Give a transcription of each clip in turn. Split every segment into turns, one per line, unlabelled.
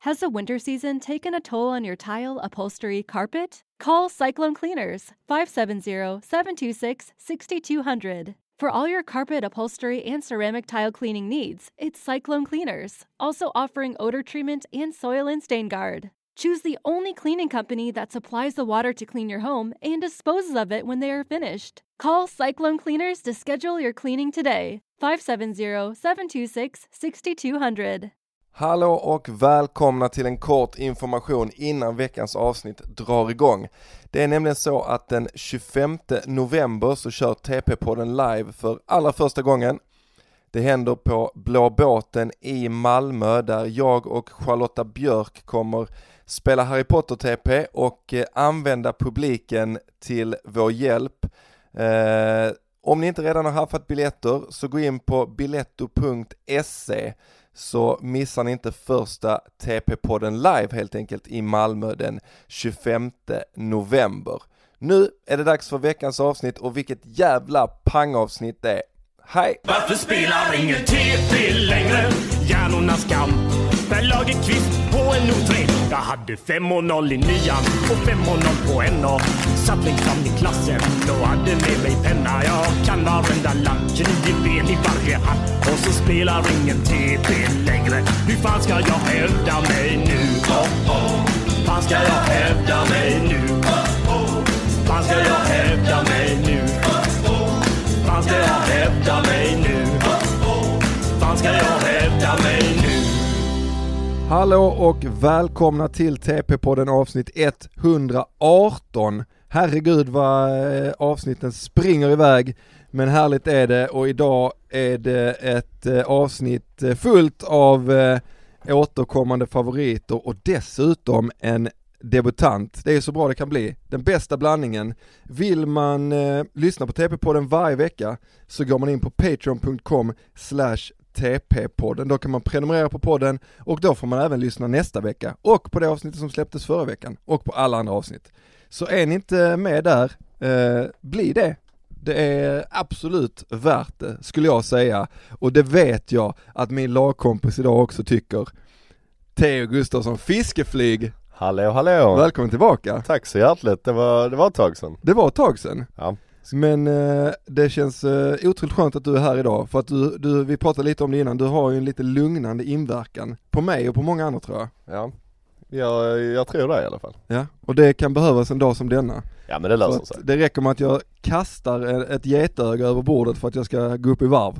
Has the winter season taken a toll on your tile, upholstery, carpet? Call Cyclone Cleaners 570 726 6200. For all your carpet, upholstery, and ceramic tile cleaning needs, it's Cyclone Cleaners, also offering odor treatment and soil and stain guard. Choose the only cleaning company that supplies the water to clean your home and disposes of it when they are finished. Call Cyclone Cleaners to schedule your cleaning today. 570 726 6200.
Hallå och välkomna till en kort information innan veckans avsnitt drar igång. Det är nämligen så att den 25 november så kör TP-podden live för allra första gången. Det händer på Blå båten i Malmö där jag och Charlotta Björk kommer spela Harry Potter-TP och eh, använda publiken till vår hjälp. Eh, om ni inte redan har haffat biljetter så gå in på biletto.se så missar ni inte första TP-podden live helt enkelt i Malmö den 25 november. Nu är det dags för veckans avsnitt och vilket jävla pangavsnitt det är. Hej!
Varför spelar ingen TP längre? Hjärnornas kamp. Per Lagerkvist på en O3. Jag hade 5 och 0 i nian och 5 och 0 på en och Satt längst fram i klassen och hade med mig penna. Jag kan varenda land, nio ben i varje hand. Och så spelar ingen TP längre. Hur fan ska jag hävda mig nu? Oh, oh. Fan ska jag hävda mig nu? Oh, oh. Fan ska jag hävda mig nu? Oh, oh. Fan ska jag hävda mig nu? Oh, oh. Fan ska jag hävda mig nu?
Hallå och välkomna till TP-podden avsnitt 118. Herregud vad eh, avsnitten springer iväg. Men härligt är det och idag är det ett eh, avsnitt eh, fullt av eh, återkommande favoriter och dessutom en debutant. Det är så bra det kan bli. Den bästa blandningen. Vill man eh, lyssna på TP-podden varje vecka så går man in på patreon.com slash TP-podden. Då kan man prenumerera på podden och då får man även lyssna nästa vecka och på det avsnittet som släpptes förra veckan och på alla andra avsnitt. Så är ni inte med där, eh, bli det. Det är absolut värt det skulle jag säga och det vet jag att min lagkompis idag också tycker. Theo Gustafsson Fiskeflyg,
Hallå hallå!
välkommen tillbaka!
Tack så hjärtligt, det var, det var ett tag sedan.
Det var ett tag sedan.
Ja.
Men eh, det känns eh, otroligt skönt att du är här idag för att du, du, vi pratade lite om det innan, du har ju en lite lugnande inverkan på mig och på många andra tror jag.
ja. Jag, jag tror det i alla fall.
Ja, och det kan behövas en dag som denna.
Ja men det
För
löser sig.
att det räcker med att jag kastar e- ett getöga över bordet för att jag ska gå upp i varv.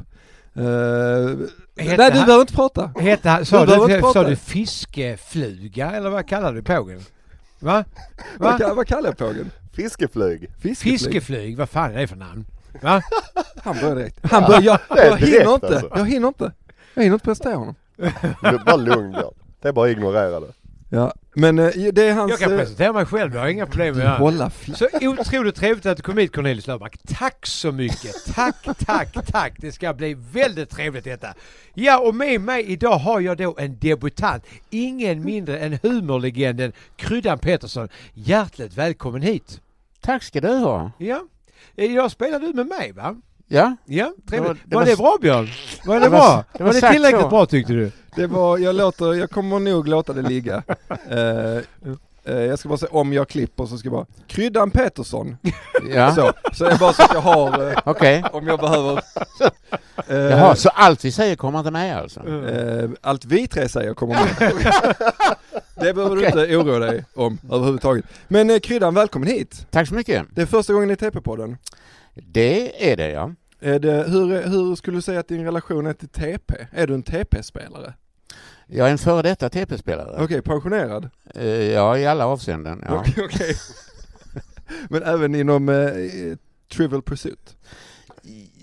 Eh, nej du
han-
behöver inte prata.
Hette han,
Du
sa,
behöver
du,
inte prata.
sa du fiskefluga eller vad kallade du pågen? Va?
Vad,
Va?
ka- vad kallar jag pågen?
Fiskeflyg.
Fiskeflyg?
Fiskeflyg, vad fan är det för namn? Va?
Han börjar direkt. Han börjar, jag, jag
direkt
hinner inte.
alltså.
Jag hinner inte. Jag hinner inte prestera honom.
Du, Bara lugn Björn. Det är bara att ignorera det.
Ja, men eh, det är hans...
Jag kan
eh,
presentera mig själv, jag har inga problem med det.
Hålla fl-
Så otroligt trevligt att du kom hit Cornelis Löfmark. Tack så mycket. Tack, tack, tack. Det ska bli väldigt trevligt detta. Ja, och med mig idag har jag då en debutant. Ingen mindre än humorlegenden Kryddan Pettersson. Hjärtligt välkommen hit.
Tack ska du ha.
Ja, idag spelar du med mig va?
Ja,
Ja,
Det
trevligt.
var-
Var,
det var-
det bra Björn? Var det,
Det var-
bra?
det var
Var, det
sagt
tillräckligt
så.
bra tyckte du?
Det var, jag låter, jag kommer nog låta det ligga. Eh, eh, jag ska bara säga om jag klipper så ska jag bara, Kryddan Petersson.
ja.
Så, så är det bara så att jag har, eh,
okej.
om jag behöver. Eh,
Jaha, så allt vi säger kommer inte med alltså?
eh, allt vi tre säger kommer med. det behöver du inte oroa dig om överhuvudtaget. Men eh, Kryddan, välkommen hit.
Tack så mycket.
Det är första gången i TP-podden.
Det är det ja.
Är det, hur, hur skulle du säga att din relation är till TP? Är du en TP-spelare?
Jag är en före detta TP-spelare.
Okej, pensionerad?
Eh, Ja, i alla avseenden. Ja.
Okej, okej. Men även inom eh, Trivial Pursuit?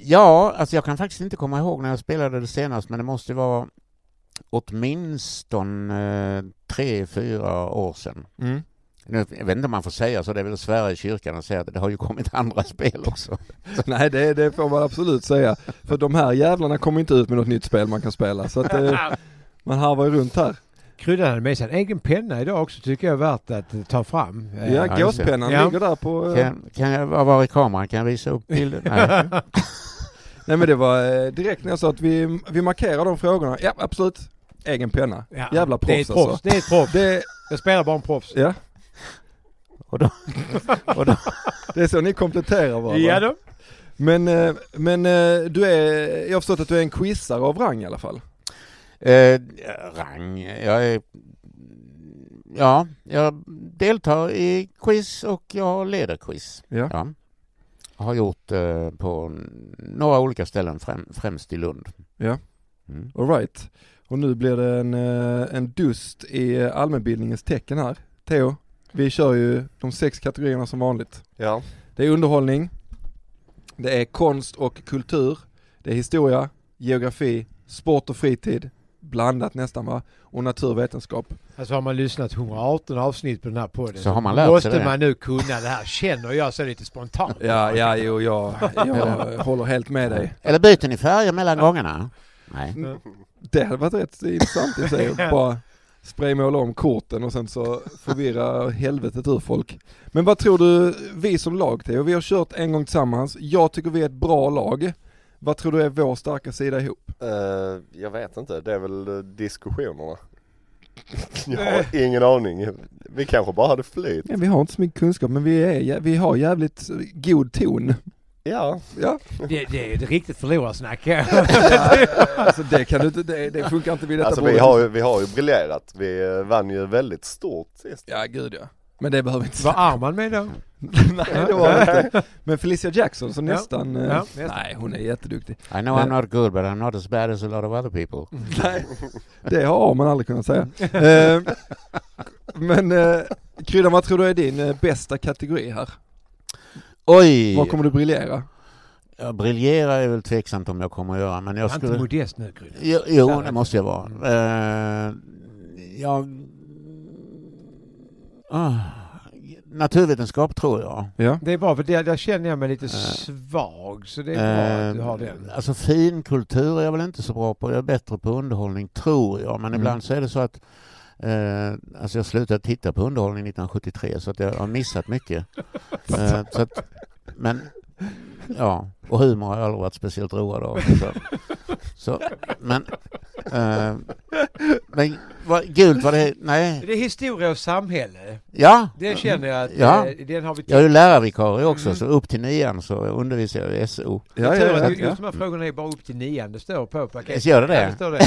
ja, alltså jag kan faktiskt inte komma ihåg när jag spelade det senast, men det måste vara åtminstone eh, tre, fyra år sedan. Nu, jag vet inte om man får säga så, det är väl att svära i kyrkan och säga att det har ju kommit andra spel också.
Nej, det, det får man absolut säga. För de här jävlarna kommer inte ut med något nytt spel man kan spela. Så att eh, man harvar ju runt här.
Kryddan hade med sig en egen penna idag också tycker jag är värt att eh, ta fram. Eh,
Ja,
just det.
gåspennan
Ja.
ligger där på... Eh,
Kan, kan jag vara i kameran? Kan jag visa upp bilden? Nej.
Nej men det var eh, direkt när jag sa att vi, vi markerar de frågorna. Ja, absolut. egen penna.
Ja,
Jävla
det är ett
proffs
proffs,
alltså.
det är ett proffs.
Det,
Jag spelar bara en proffs.
ja,
Och då, och då,
det är så ni kompletterar varandra.
Ja då.
Men, eh, men eh, du är, jag har förstått att du är en quizare av rang i alla fall.
eh, rang, jag är... Ja, jag deltar i quiz och jag leder quiz.
Ja.
Ja. Har gjort eh, på några olika ställen, främ, främst i Lund.
Ja.
Mm.
All right. Och nu blir det en, eh, en dust i eh, allmänbildningens tecken här. Theo, vi kör ju de sex kategorierna som vanligt.
Ja.
Det är underhållning, det är konst och kultur, det är historia, geografi, sport och fritid, blandat nästan va, och naturvetenskap.
Alltså har man lyssnat 118 avsnitt på den här podden
Så har man lärt sig
måste
det.
man nu kunna det här, känner jag så lite spontant.
Ja, ja, jo, jag, jag håller helt med dig.
Eller byter ni färger mellan gångerna? Nej.
Det hade varit rätt intressant i och för sig att bara spraymåla om korten och sen så förvirra helvetet ur folk. Men vad tror du vi som lag Theo? Vi har kört en gång tillsammans. Jag tycker vi är ett bra lag. Vad tror du är vår starka sida ihop?
Eh, jag vet inte, det är väl eh, diskussionerna. jag har ingen aning. Vi kanske bara hade flyt.
Ja, vi har inte så mycket kunskap men vi, är, vi har jävligt god ton.
Ja,
Ja,
Det, det är ett riktigt förlorarsnack.
alltså det kan du inte, det, det funkar inte vid detta
alltså vi
bordet.
har, ju, vi har ju briljerat. Vi eh, vann ju väldigt stort sist.
Ja, gud ja. Men det behöver vi inte
Var
säga.
Arman med då?
Nej, det var det inte. Men Felicia Jackson som
Ja.
nästan, eh,
Ja, nästan.
nej hon är jätteduktig.
I know I'm not good but I'm not as bad as a lot of other people.
Nej, det har man aldrig kunnat säga. Eh, Men eh, Kryddan, vad tror du är din eh, bästa kategori här?
Oj!
Var kommer du briljera?
Ja, briljera är väl tveksamt om jag kommer att göra, men jag
Var inte
skulle...
modest nu Krydde.
Jo, jo det måste jag vara. Eh, jag... Ah, naturvetenskap tror jag.
Ja,
Det är bra för där, där känner jag mig lite svag så det är bra att du har
Eh,
den.
Alltså finkultur är jag väl inte så bra på. Jag är bättre på underhållning, tror jag. Men
Mm.
ibland så är det så att eh, alltså jag slutade titta på underhållning 1973 så att jag har missat mycket. eh, så att, men ja, och humor har jag aldrig varit speciellt road av. Så, så, men eh, men vad, gult vad det är. Nej,
Det är historia och samhälle.
ja.
Det känner jag att
Ja.
eh, den har vi
Jag är ju lärarvikarie också,
Mm.
så upp till nian så undervisar jag i SO.
ja,
Tur
ja,
att ju-
ja,
Just de här frågorna är bara upp till nian, det står på paketet.
Gör det
Ja, det
det?
står det.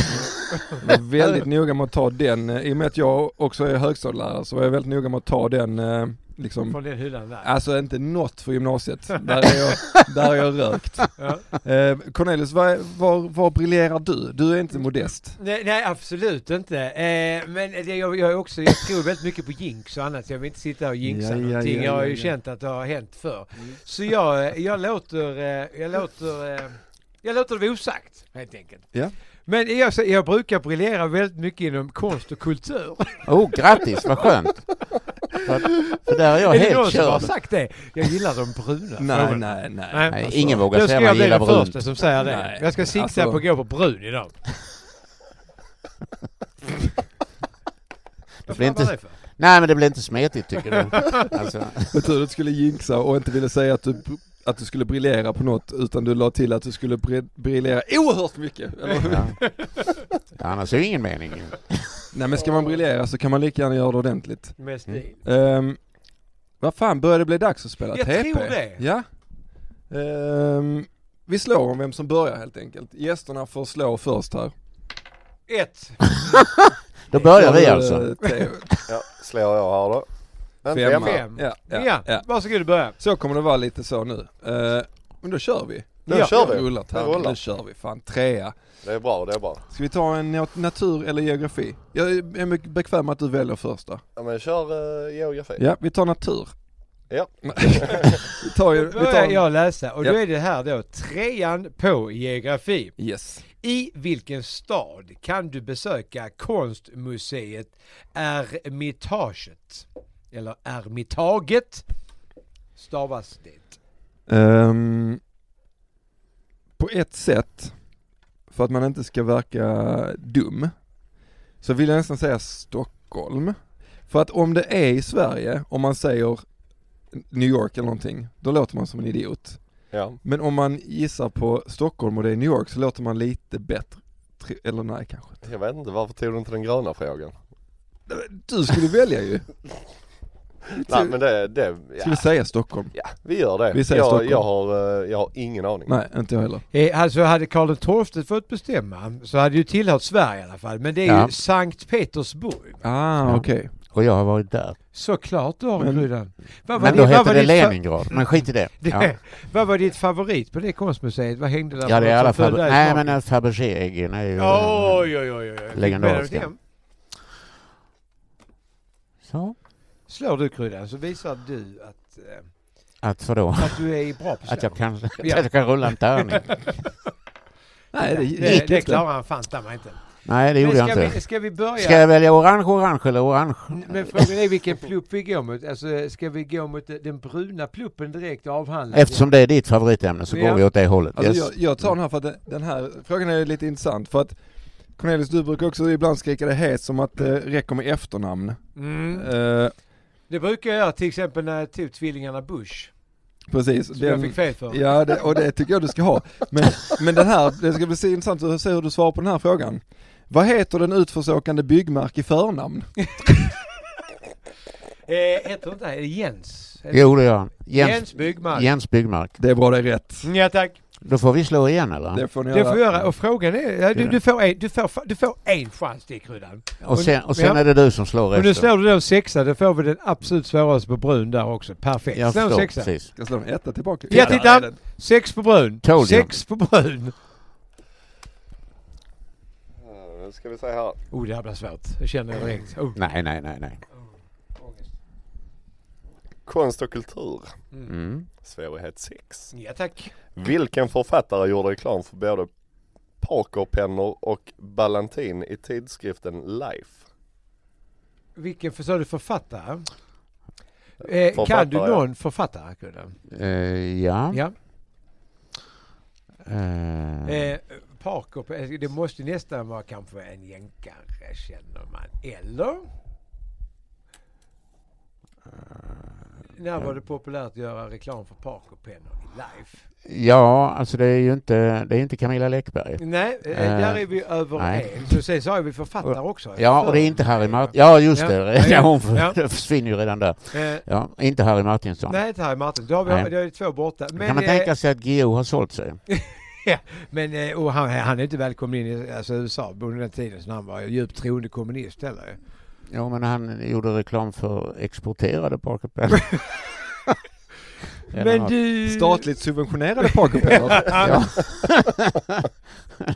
Jag är väldigt noga med att ta den, eh, i och med att jag också är högstadielärare så var jag väldigt noga med att ta den eh, liksom
Från den hyllan där.
Alltså inte något för gymnasiet, där är jag, där är jag rökt.
Ja.
Eh, Cornelius, var, var, var briljerar du? Du är inte modest.
Nej, nej absolut inte. Eh, men det, jag, jag, är också, jag tror väldigt mycket på jinx och annat. Jag vill inte sitta och jinxa
Ja, ja,
någonting.
ja,
jag har
ja,
ju
ja. Mm.
känt att det har hänt förr. Så jag, eh, jag låter, eh, jag låter, eh, jag låter det vara osagt helt enkelt.
Ja.
Men jag, jag brukar briljera väldigt mycket inom konst och kultur.
Oh, grattis, vad skönt! För, att- för där är jag
är det någon
helt
som har
körd.
sagt det? Jag gillar de bruna
Nej,
frågorna.
nej, nej.
Nej.
Nej,
Alltså,
ingen vågar
Då
säga
ska
man
jag bli
gillar
den
brunt.
första som säger det.
Nej.
Jag ska sikta
Alltså-
på att gå på brun idag.
Det
Vad
blir
fan var
inte,
det för?
nej, men det blir inte smetigt tycker du. Alltså,
Jag trodde du inte skulle jinxa och inte ville säga att du, att du skulle briljera på något utan du la till att du skulle bri- briljera oerhört mycket. Eller? hur?
ja. Annars är det ingen mening.
Nej men ska man briljera så kan man lika gärna göra det ordentligt.
Med stil.
Um, vad fan, börjar det bli dags att spela
Jag
TP?
tror det.
Ja. Ehm, vi slår om vem som börjar helt enkelt. Gästerna får slå först här.
Ett.
Då börjar vi
Eh,
alltså.
Theo.
Ja, slår jag här då. En
Femma.
femma.
Fem.
Ja,
Ja,
ja, ja.
varsågod och börja.
Så kommer det vara lite så nu. Eh, men då kör vi.
Nu
Ja.
kör vi.
Rullar
Nu
tärningen,
rullar.
nu kör vi. Fan, trea.
Det är bra, det är bra.
Ska vi ta en nat- natur eller geografi? Jag är mycket bekväm med att du väljer första.
Ja men kör uh, geografi.
Ja, vi tar natur.
Ja.
vi tar ju, vi
Börjar
tar
jag läsa och då
Ja.
är det här då trean på geografi.
Yes.
I vilken stad kan du besöka konstmuseet Ermitaget? Eller Ermitaget stavas det.
Ehm, på ett sätt, för att man inte ska verka dum, så vill jag nästan säga Stockholm. För att om det är i Sverige, om man säger New York eller någonting, då låter man som en idiot.
Ja.
Men om man gissar på Stockholm och det är New York så låter man lite bättre Tri- Eller nej kanske inte.
Jag vet inte, varför tog du inte den gröna frågan?
Du skulle välja ju.
Nej men det, det
Ska vi
ja,
säga Stockholm?
ja, vi gör det.
Vi säger
jag,
Stockholm.
jag, har, eh, jag har ingen aning.
Nej, inte jag heller.
Eh, alltså hade Karl XII fått bestämma så hade ju tillhört Sverige i alla fall. Men det är
Ja.
ju Sankt Petersburg.
Ah,
Ja.
okej.
Och jag har varit där.
Såklart du har
Men-
Kryddan. Vad var din-
Men då
vad
hette
var
det
ditt fa-
Leningrad. Men skit i det.
Det,
Ja.
Vad var ditt favorit på det konstmuseet? Vad hängde där?
Ja, det är i alla
som
fall...
föll dig i
Nej,
smaken?
men eh, Fabergé-äggen är ju... eh,
Oj, oj, oj, oj. Fick
Legendariska.
med dig hem.
Så.
Slår du Kryddan så visar du att, eh,
Att vadå?
att du är bra på
Att jag kan, att
Ja.
jag kan rulla en tärning?
Nej, det
det,
gick
det
inte.
klarar han fanta mig inte.
Nej, det gjorde
Men
jag
ska,
inte.
vi, ska vi börja?
Ska jag välja orange, orange eller orange?
Men frågan är vilken plupp vi går mot. Alltså, ska vi gå mot den bruna pluppen direkt och avhandla? den?
Eftersom det är ditt favoritämne så
Ja.
går vi åt det hållet.
Alltså
Yes.
jag, jag tar den här för att den- den här frågan är lite intressant för att Cornelius, du brukar också ibland skrika det hes som att det räcker med efternamn.
Mm.
Eh,
Det brukar jag göra till exempel när jag tog tvillingarna Bush.
precis.
Som jag fick fel för.
ja, det, och det tycker jag du ska ha. Men, men den här, det ska bli så intressant att se hur du svarar på den här frågan. Vad heter den utförsåkande byggmark i förnamn?
Eh, heter inte det? Är det Jens? Är det-
Jo, det gör han.
Jens,
Jens,
Byggmark.
Jens Byggmark.
Det är bra, det är rätt.
Ja tack.
Då får vi slå igen eller?
Det får ni
Det får jag
göra.
göra. Och frågan är, ja, du,
Ja.
du, får en, du, får, fa- du får en chans till Kryddan.
Och sen, och sen
Ja.
är det du som slår
Och nu
resten.
slår du då en sexa, då får vi den absolut svåraste på brun där också. Perfekt.
Jag
Slå en
förstår,
sexa.
precis.
Ska jag slå en etta tillbaka?
Ja, titta.
där är den.
Sex på brun.
Told you.
Sex på
Eh,
brun.
Nu ska vi se här.
Oh, det här blir svårt. Det känner jag direkt. Oh.
Nej, nej, nej, nej.
ångest.
Konst och kultur.
Mm.
Svårighet 6.
Ja tack.
Vilken författare gjorde reklam för både Parkerpennor och Ballantin i tidskriften Life?
Vilken för, sa du författare? Eh,
Författare,
kan du
ja.
någon författare Kryddan?
Eh, ja.
Ja.
Eh,
Eh, Parker, på- eh, det måste nästan vara kanske en jänkare känner man. Eller?
Eh,
När var det populärt att göra reklam för Parkerpennor i live?
ja, alltså det är ju inte, det är inte Camilla Läckberg.
Nej, eh,
Eh,
där är vi överens. Och sen sa vi författare också.
Ja, och det är inte Harry Martin. Ja, just
Ja.
det.
Ja.
Ja, hon
Ja.
försvinner ju redan där.
Eh,
Ja, inte Harry Martinsson.
nej, inte Harry Martin. Då har vi
Nej.
då är det två borta. Men,
kan man
eh,
tänka sig att Geo har sålt sig?
men eh, och han, han är inte välkommen in i alltså, USA under den tiden som han var djupt troende kommunist heller.
Jo, men han gjorde reklam för exporterade Parker Pennor. Eller
Men
något.
du...
Statligt subventionerade parkupphällor.
Ja.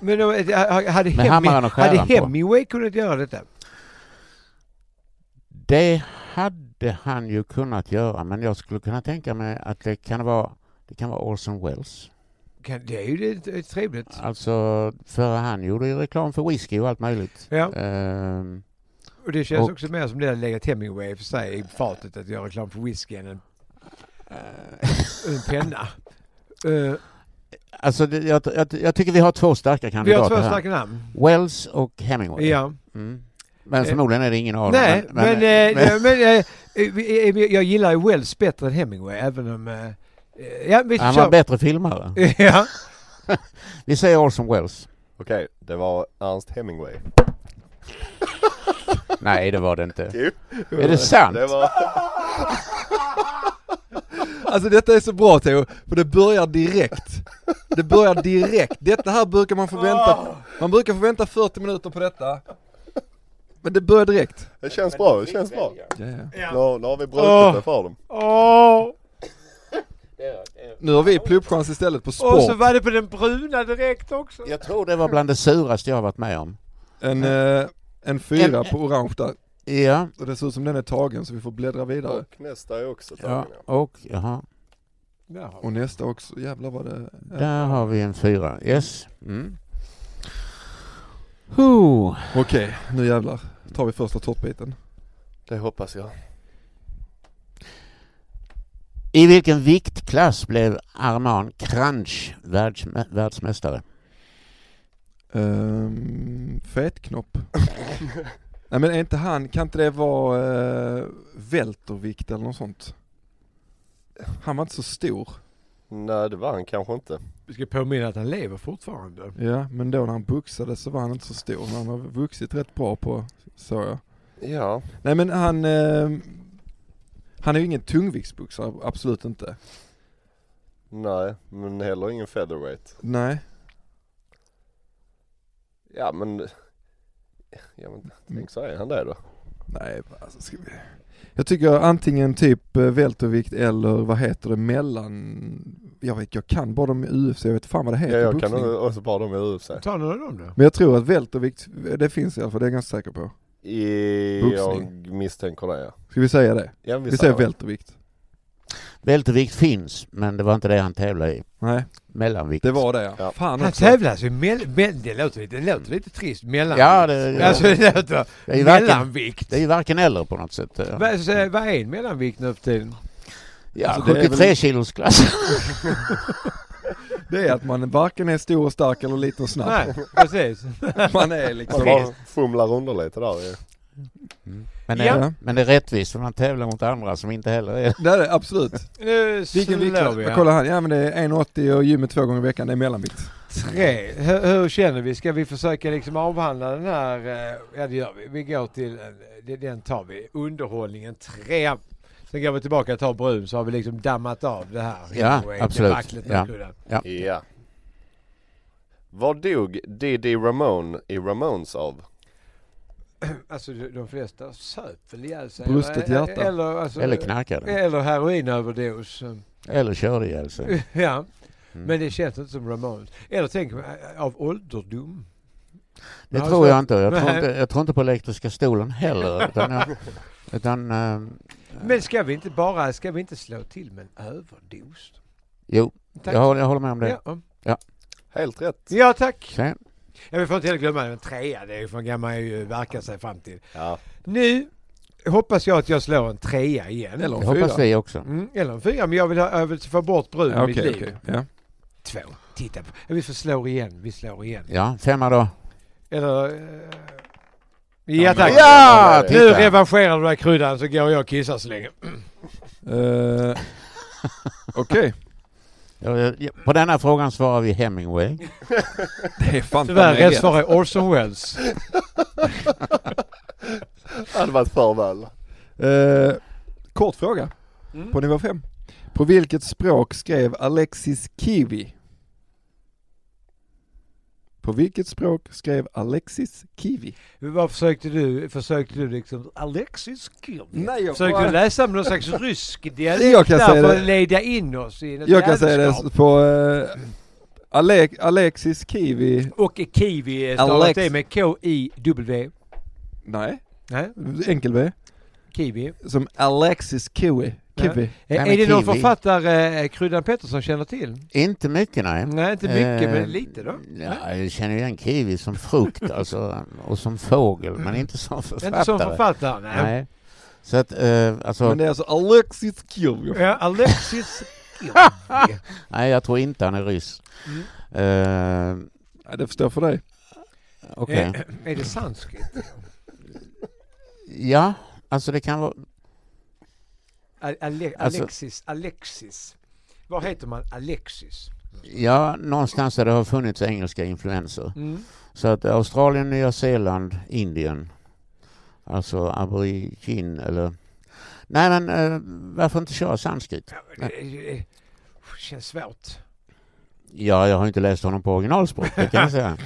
Men då, eh, hade,
Med hammaren
Heming,
och
hade
skäran på.
Hemingway kunnat göra detta?
Det hade han ju kunnat göra, men jag skulle kunna tänka mig att det kan vara, det kan vara Orson Welles.
Kan, det är ju det, det är trevligt.
Alltså, för han gjorde ju reklam för whisky och allt möjligt.
Ja,
Ehm,
och det känns
och-
också mer som det hade legat Hemingway i och för sig i fatet att göra reklam för whisky än en, en penna. Eh,
alltså, det, jag, jag, jag tycker vi har två starka
vi
kandidater
har två
här.
starka namn.
Wells och Hemingway.
Ja.
Mm. Men
Eh,
förmodligen är det ingen av dem.
Nej, men, eh,
men-
nej, men, eh, vi- eh, vi- jag gillar ju Wells bättre än Hemingway även om... eh, eh, ja, vi
han
kör.
var en bättre filmare.
ja.
Vi säger Orson Welles.
Okej, det var Ernst Hemingway.
Nej, det var det inte.
Jo.
Är det sant?
Det var...
Alltså detta är så bra Theo, för det börjar direkt. Det börjar direkt. Detta här brukar man
Ah.
förvänta, man brukar förvänta 40 minuter på detta. Men det börjar direkt.
Det känns bra, det känns bra. Nu, nu har vi brutit
Åh.
det för dem.
Åh,
Nu har vi pluppchans istället på
och så
sport.
var det på den bruna direkt också.
Jag tror det var bland det suraste jag har varit med om.
En, eh, en fyra
En-
på orange där.
Ja,
Och det ser ut som den är tagen så vi får bläddra vidare.
Och nästa är också
ja
tagen. ja.
och jaha.
Jaha.
Och nästa också, jävlar vad det är.
Där har vi en fyra. Yes. Mm. Huh.
Okej, nu jävlar tar vi första tårtbiten.
Det hoppas jag.
I vilken viktklass blev Arman Kranj världsmä- världsmästare?
Um, fetknopp. Nej men är inte han, kan inte det vara eh, uh, vältervikt eller något sånt? Han var inte så stor.
Nej det var han kanske inte.
Vi ska påminna att han lever fortfarande.
Ja, men då när han boxade så var han inte så stor. Han har vuxit rätt bra på, så jag.
Ja,
Nej men han, eh, han är ju ingen tungviktsboxare, absolut inte.
nej, men heller ingen featherweight.
Nej,
Ja men, ja men tänk så är han det då.
nej alltså ska vi... Jag tycker antingen typ eh, vältervikt eller vad heter det, mellan... Jag vet, jag kan bara de i UFC, jag vet fan vad det heter
Ja,
i
jag kan
boxning.
nog också bara dem i UFC.
Ta några av dem då.
Men jag tror att vältervikt, det finns i alla fall, det är jag ganska säker på.
I,
Boxning.
jag misstänker det ja.
Ska vi säga det?
ja
Vi säger vältervikt.
Vältervikt finns, men det var inte det han tävlade i.
Nej,
Mellanvikt.
det var det ja.
Ja.
Fan
Han
också.
tävlar alltså i mell- mell- det, låter lite, det låter lite trist, mellan...
Ja, det, ja.
Alltså det låter...
det är ju varken,
Mellanvikt.
det är ju varken eller på något sätt.
Vad alltså, vad är en mellanvikt nu för tiden?
Ja,
Alltså, det är väl-
73 kilos klass.
Det är att man varken är stor och stark eller liten och snabb.
Nej, precis.
Man är
Man
liksom...
bara fumlar under lite där ju.
Men, eh, det-
Ja.
men det är rättvist för man tävlar mot andra som inte heller är
Det är det, absolut.
Nu
Vilken
slår
viktklass?
vi
Men
här.
kolla här, ja men det är 1,80 och gymmet två gånger i veckan, det är mellanvikt.
Tre. Hur, hur känner vi? Ska vi försöka liksom avhandla den här? eh, Ja det gör vi. Vi går till, eh, det- den tar vi. Underhållningen tre. Sen går vi tillbaka och tar brun så har vi liksom dammat av det här.
Ja,
Anyway,
absolut.
debaclet med
Ja.
kudden.
Ja. Vad dog Didi Ramone i Ramones av?
Alltså de de flesta söp väl ihjäl sig.
Brustet
Eller-
hjärta.
Eller, alltså,
eller
Eh.
knarkade.
eller heroinöverdos.
Eller körde ihjäl sig.
Ja,
Mm.
men det känns inte som Ramones. Eller tänk mig, eh, av ålderdom.
Det
Ja,
tror
så-
jag inte. Jag tror
Nej.
inte, jag tror inte på elektriska stolen heller. Utan jag, utan, eh,
Men ska vi inte bara, ska vi inte slå till med en överdos?
jo,
Tack.
jag håller, jag håller med om det.
Ja,
Helt rätt.
ja tack.
Okej.
Ja, vi får inte heller glömma en trea, det är ju från kan man ju verka sig fram till.
Ja.
Nu hoppas jag att jag slår en trea igen.
Eller
Det
om fyra.
hoppas vi också.
Mm, eller en fyra, men jag vill, ha, jag vill få bort brun i
Ja,
mitt
okej,
liv.
okej. Ja.
Två, titta på. Ja, vi får slå igen, vi slår igen.
Ja, femma då.
Eller... eh, Ja tack!
Ja,
Nu
titta.
revanscherar du dig kryddan så går jag och kissar så länge.
Eh, Okej,
Ja, ja, På denna frågan svarar vi Hemingway.
det är fan ta
Tyvärr,
mig
rätt svar är Orson Welles.
Det hade varit för väl.
rätt. Eh, Kort fråga,
Mm.
på nivå 5. På vilket språk skrev Alexis Kiwi? På vilket språk skrev Alexis Kiwi?
Vad försökte du? Försökte du liksom Alexis Kirby?
Nej, jag
försökte
bara-
du läsa med någon slags rysk
Jag
dialekt
kan
där
säga
för
det.
att leda in oss i något
Jag kan säga
jävelskap?
det på eh, Ale- Alexis Kiwi,
Och kiwi är stavat
Alex-
det med K-I-W.
nej,
Nej,
enkel V,
kiwi.
som Alexis Kiwi. Kiwi.
Är,
men
är det någon
kiwi.
författare eh, Kryddan Pettersson känner till?
Inte mycket nej.
Nej, Mm, inte mycket,
Eh,
men lite då.
Ja, jag känner igen kiwi som frukt alltså, och som fågel, men inte som författare.
Inte som författare, nej.
Nej. Så att, eh, alltså,
Men det är alltså Alexis Kiwi.
Ja, Alexis Kirby.
nej jag tror inte han är ryss.
Mm.
Eh,
Ja, det förstår jag för dig.
Okej.
Eh, Är det sanskrit?
Ja, alltså det kan vara...
Ale- Ale-
Alltså-
Alexis, Alexis. Var heter man Alexis?
Ja, någonstans där det har funnits engelska influenser.
Mm.
Så att Australien, Nya Zeeland, Indien. Alltså aborikin eller... Nej men eh, varför inte köra sanskrit?
Det, det- det känns svårt.
Ja, jag har inte läst honom på originalspråk, det kan jag säga.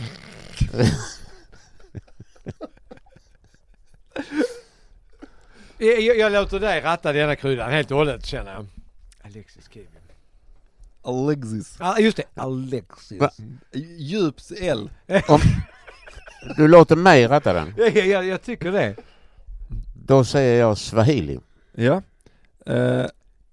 Jag, jag, jag låter dig ratta denna kryddan helt och hållet känner jag. Alexis Kiwi.
Alexis.
Ja just det, Alexis.
Va?
Djups L.
Du låter mig ratta den.
Jag, jag, jag tycker det.
Då säger jag swahili.
Ja. Eh,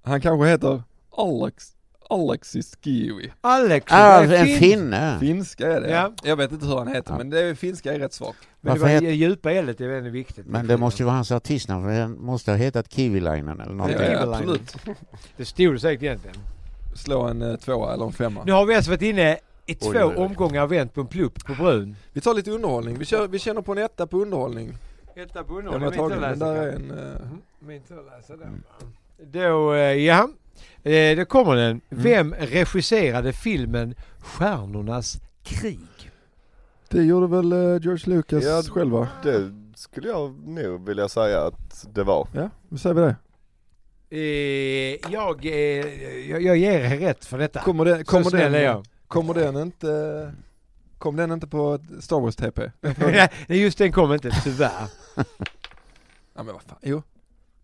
han kanske heter Alex, Alexis Kiwi.
Alex.
Ah,
det är
en
fint.
finne!
Finska är det.
Ja.
Jag vet inte hur han heter
Ja.
men det är, finska är rätt svag.
Men det
Varför
var
het-
djupa eldet är väldigt viktigt.
Men det måste ju vara hans artistnamn, för den måste ha hetat Kivilainen eller
Ja,
någonting.
är
ja,
väl
absolut.
Det stod det säkert egentligen.
Slå en eh, tvåa eller en femma.
Nu har vi alltså varit inne i två
Oj, oj, oj.
omgångar och vänt på en plupp på brun.
Vi tar lite underhållning. Vi, kör, vi känner på en etta på underhållning.
Etta på
Den var tagen, men där är en... eh,
Min tur att läsa den. va? Då, eh, ja. Eh, Då kommer den.
Mm.
Vem regisserade filmen Stjärnornas krig?
Det gjorde väl eh, George Lucas
Ja.
själv va?
Det skulle jag nog vilja säga att det var.
Ja, nu säger vi det.
Eh, Jag, eh, jag, jag ger er rätt för detta.
Kommer, det,
Så
kommer,
snäll är
den,
jag.
kommer den inte... Kom den inte på Star Wars TP?
Nej, Just den kom inte, tyvärr.
Ja men vad fan, jo.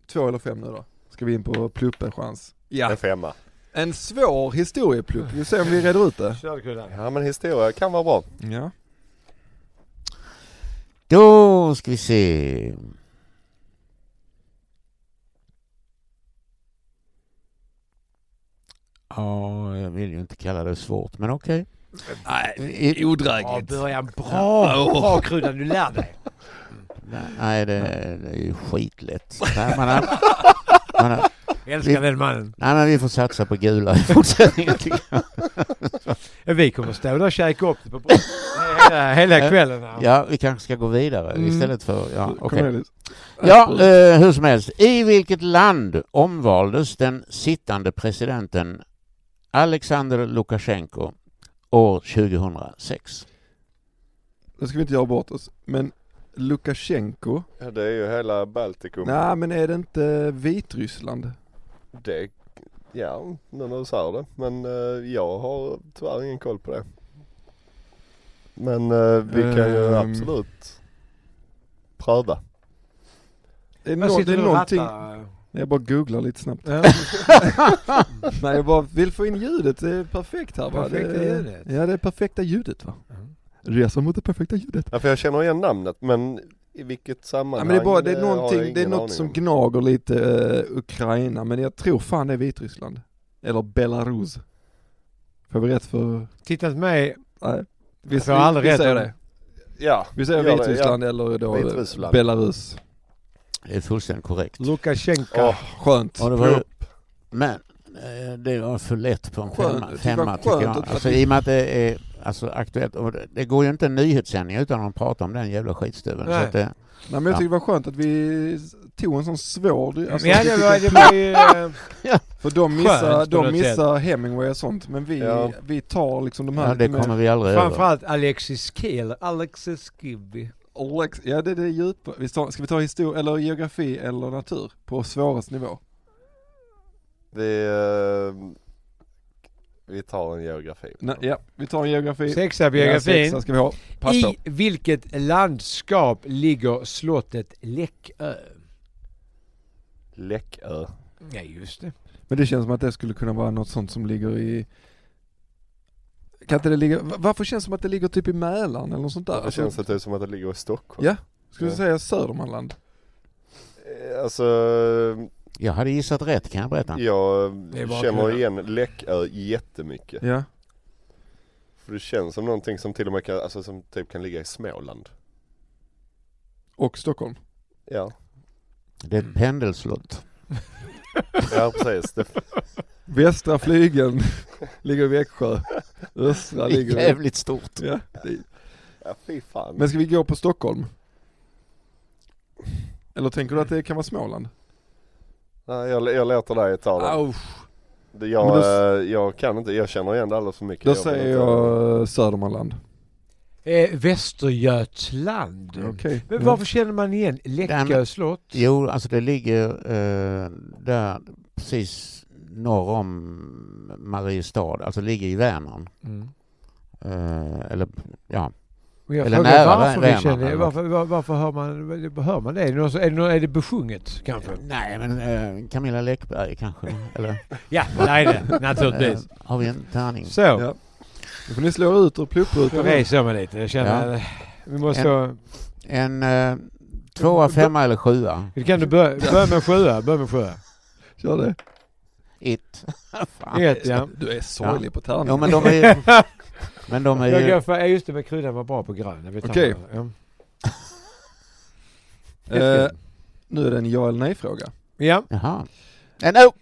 Två eller fem nu då. Ska vi in på pluppenchans. Ja.
En femma.
En svår historieplupp, vi ser om vi reder ut det.
Körkulan.
Ja men historia kan vara bra.
Ja.
Då ska vi se. Ja, jag vill ju inte kalla det svårt, men okej. Nej,
Ja,
Odrägligt.
början bra!
Oh.
Bra krydda, du lär dig.
Nej, det, det är ju skitlätt. Nej, man har, man har,
Älskar den mannen.
nej, men vi får satsa på gula i fortsättningen. tycker jag.
Vi kommer stå där och käka upp det på bordet hela, hela kvällen. här.
Ja, vi kanske ska gå vidare
Mm.
istället för...
Ah,
Ja, okej.
Cornelis. Äh,
Ja, eh, hur som helst. I vilket land omvaldes den sittande presidenten Alexander Lukasjenko år 2006?
Nu ska vi inte göra bort oss. Men Lukasjenko?
Ja, det är ju hela Baltikum.
Nej men är det inte Vitryssland?
Det, ja, nu när du säger det. Men eh, jag har tyvärr ingen koll på det. Men eh, vi kan ju
Ehm.
absolut pröva.
Är det,
Jag
nå- det
sitter
är
och rattar.
någonting... Nej, Jag bara googlar lite snabbt.
Ja.
Nej jag bara vill få in ljudet, det är perfekt här va?
Perfekta
det,
ljudet.
Ja det är perfekta ljudet va?
Mm.
Resan mot det perfekta ljudet.
Ja, för jag känner igen namnet men i vilket
Ja,
sammanhang
men det är, bara, det
eh,
är,
har jag
någonting, det är
ingen
något
aning
som
om.
gnager lite eh, Ukraina, men jag tror fan det är Vitryssland. Eller Belarus. Får vi rätt för...
Tittat mig.
Nej. Vi,
får aldrig
vi,
rätt
säger
om-
det.
Ja,
Vi säger
Gör det,
Vitryssland eller då eh,
Vitryssland.
Belarus.
Det är fullständigt korrekt.
Lukasjenko.
Åh,
Skönt.
Ja, det var, men eh, det var för lätt på en
Skönt.
femma,
Det var
femma
skönt
tycker
att-
jag. Alltså, I och med att det är alltså, aktuellt. Och det, det går ju inte en nyhetssändning utan att prata om den jävla skitstöveln. Så
Nej.
att, det-
Nej men jag tycker det var skönt att vi tog en sån svår... Alltså,
ja,
att vi
det
fick
var,
en-
det var ju... eh,
För de
Skönt
missar,
på något
de missar Hemingway och sånt, men vi,
Ja.
vi tar liksom de här...
ja, det
lite mer-
kommer vi aldrig över.
Framförallt Alexis Keel. Alexis Kibby.
Alex, ja det, det är djupa. Vi tar, ska vi ta historia, eller geografi eller natur på svårast nivå?
vi, eh, vi tar en geografi.
Nej, ja, vi tar en geografi.
Sexa
Ja,
biografin.
sexa ska vi ha. Pass på.
I vilket landskap ligger slottet Läckö?
Läckö.
Ja, just det.
Men det känns som att det skulle kunna vara något sånt som ligger i... Kan inte det ligga... va- Varför känns det som att det ligger typ i Mälaren eller något sånt där?
Det känns det typ som att det ligger i Stockholm.
Alltså- Ja. Skulle du säga Södermanland?
Eh, Alltså,
Jag hade gissat rätt kan jag berätta.
jag
är bara
känner
kul.
igen Läckö jättemycket.
Ja.
För det känns som någonting som till och med kan, alltså som typ kan ligga i Småland.
Och Stockholm?
Ja,
Det är ett pendelslott.
ja precis. Det,
Västra flygeln ligger i Växjö. Östra
Det är
ligger i...
jävligt stort.
Ja. det-
ja, fy fan.
Men ska vi gå på Stockholm? Eller tänker du att det kan vara Småland?
Nej, jag, jag låter dig ta det.
Au.
Det- Jag,
Men
eh, jag kan inte, jag känner igen det alldeles för mycket.
Då
vill
säger
inte-
jag Södermanland.
Eh, Västergötland.
Okej.
Men varför känner man igen Läckö
Den-
slott?
Jo, alltså det ligger eh, där precis norr om Mariestad, alltså ligger i Vänern.
Mm.
Eh, eller ja,
Och jag
Eller
frågar
nära
varför, vi
Vänern,
känner,
eller?
varför, var, varför hör man, hör man det? Är det, någon, som- är det, någon- är det besjunget kanske?
nej men eh, Camilla Läckberg kanske, eller?
Ja, det är det naturligtvis.
Eh, har vi en tärning?
Så,
Ja. Nu får ni slå ut ur
då
plupprutan.
reser jag mig lite. Jag känner att vi måste...
En eh, tvåa,
Mm.
femma eller sjua?
Kan du börja, börja med en sjua? Börja med en sjua.
Gör det.
It. Fan.
Ett, ja.
Du är sorglig på tärning.
Jo men de är ju... Men de är
Jag
ju...
går för, ja, just det, men kryddan var bra på grön. Jag vet
Okej.
inte. Ja.
Eh, nu är det en ja eller nej fråga.
Ja,
Jaha. Eh, no,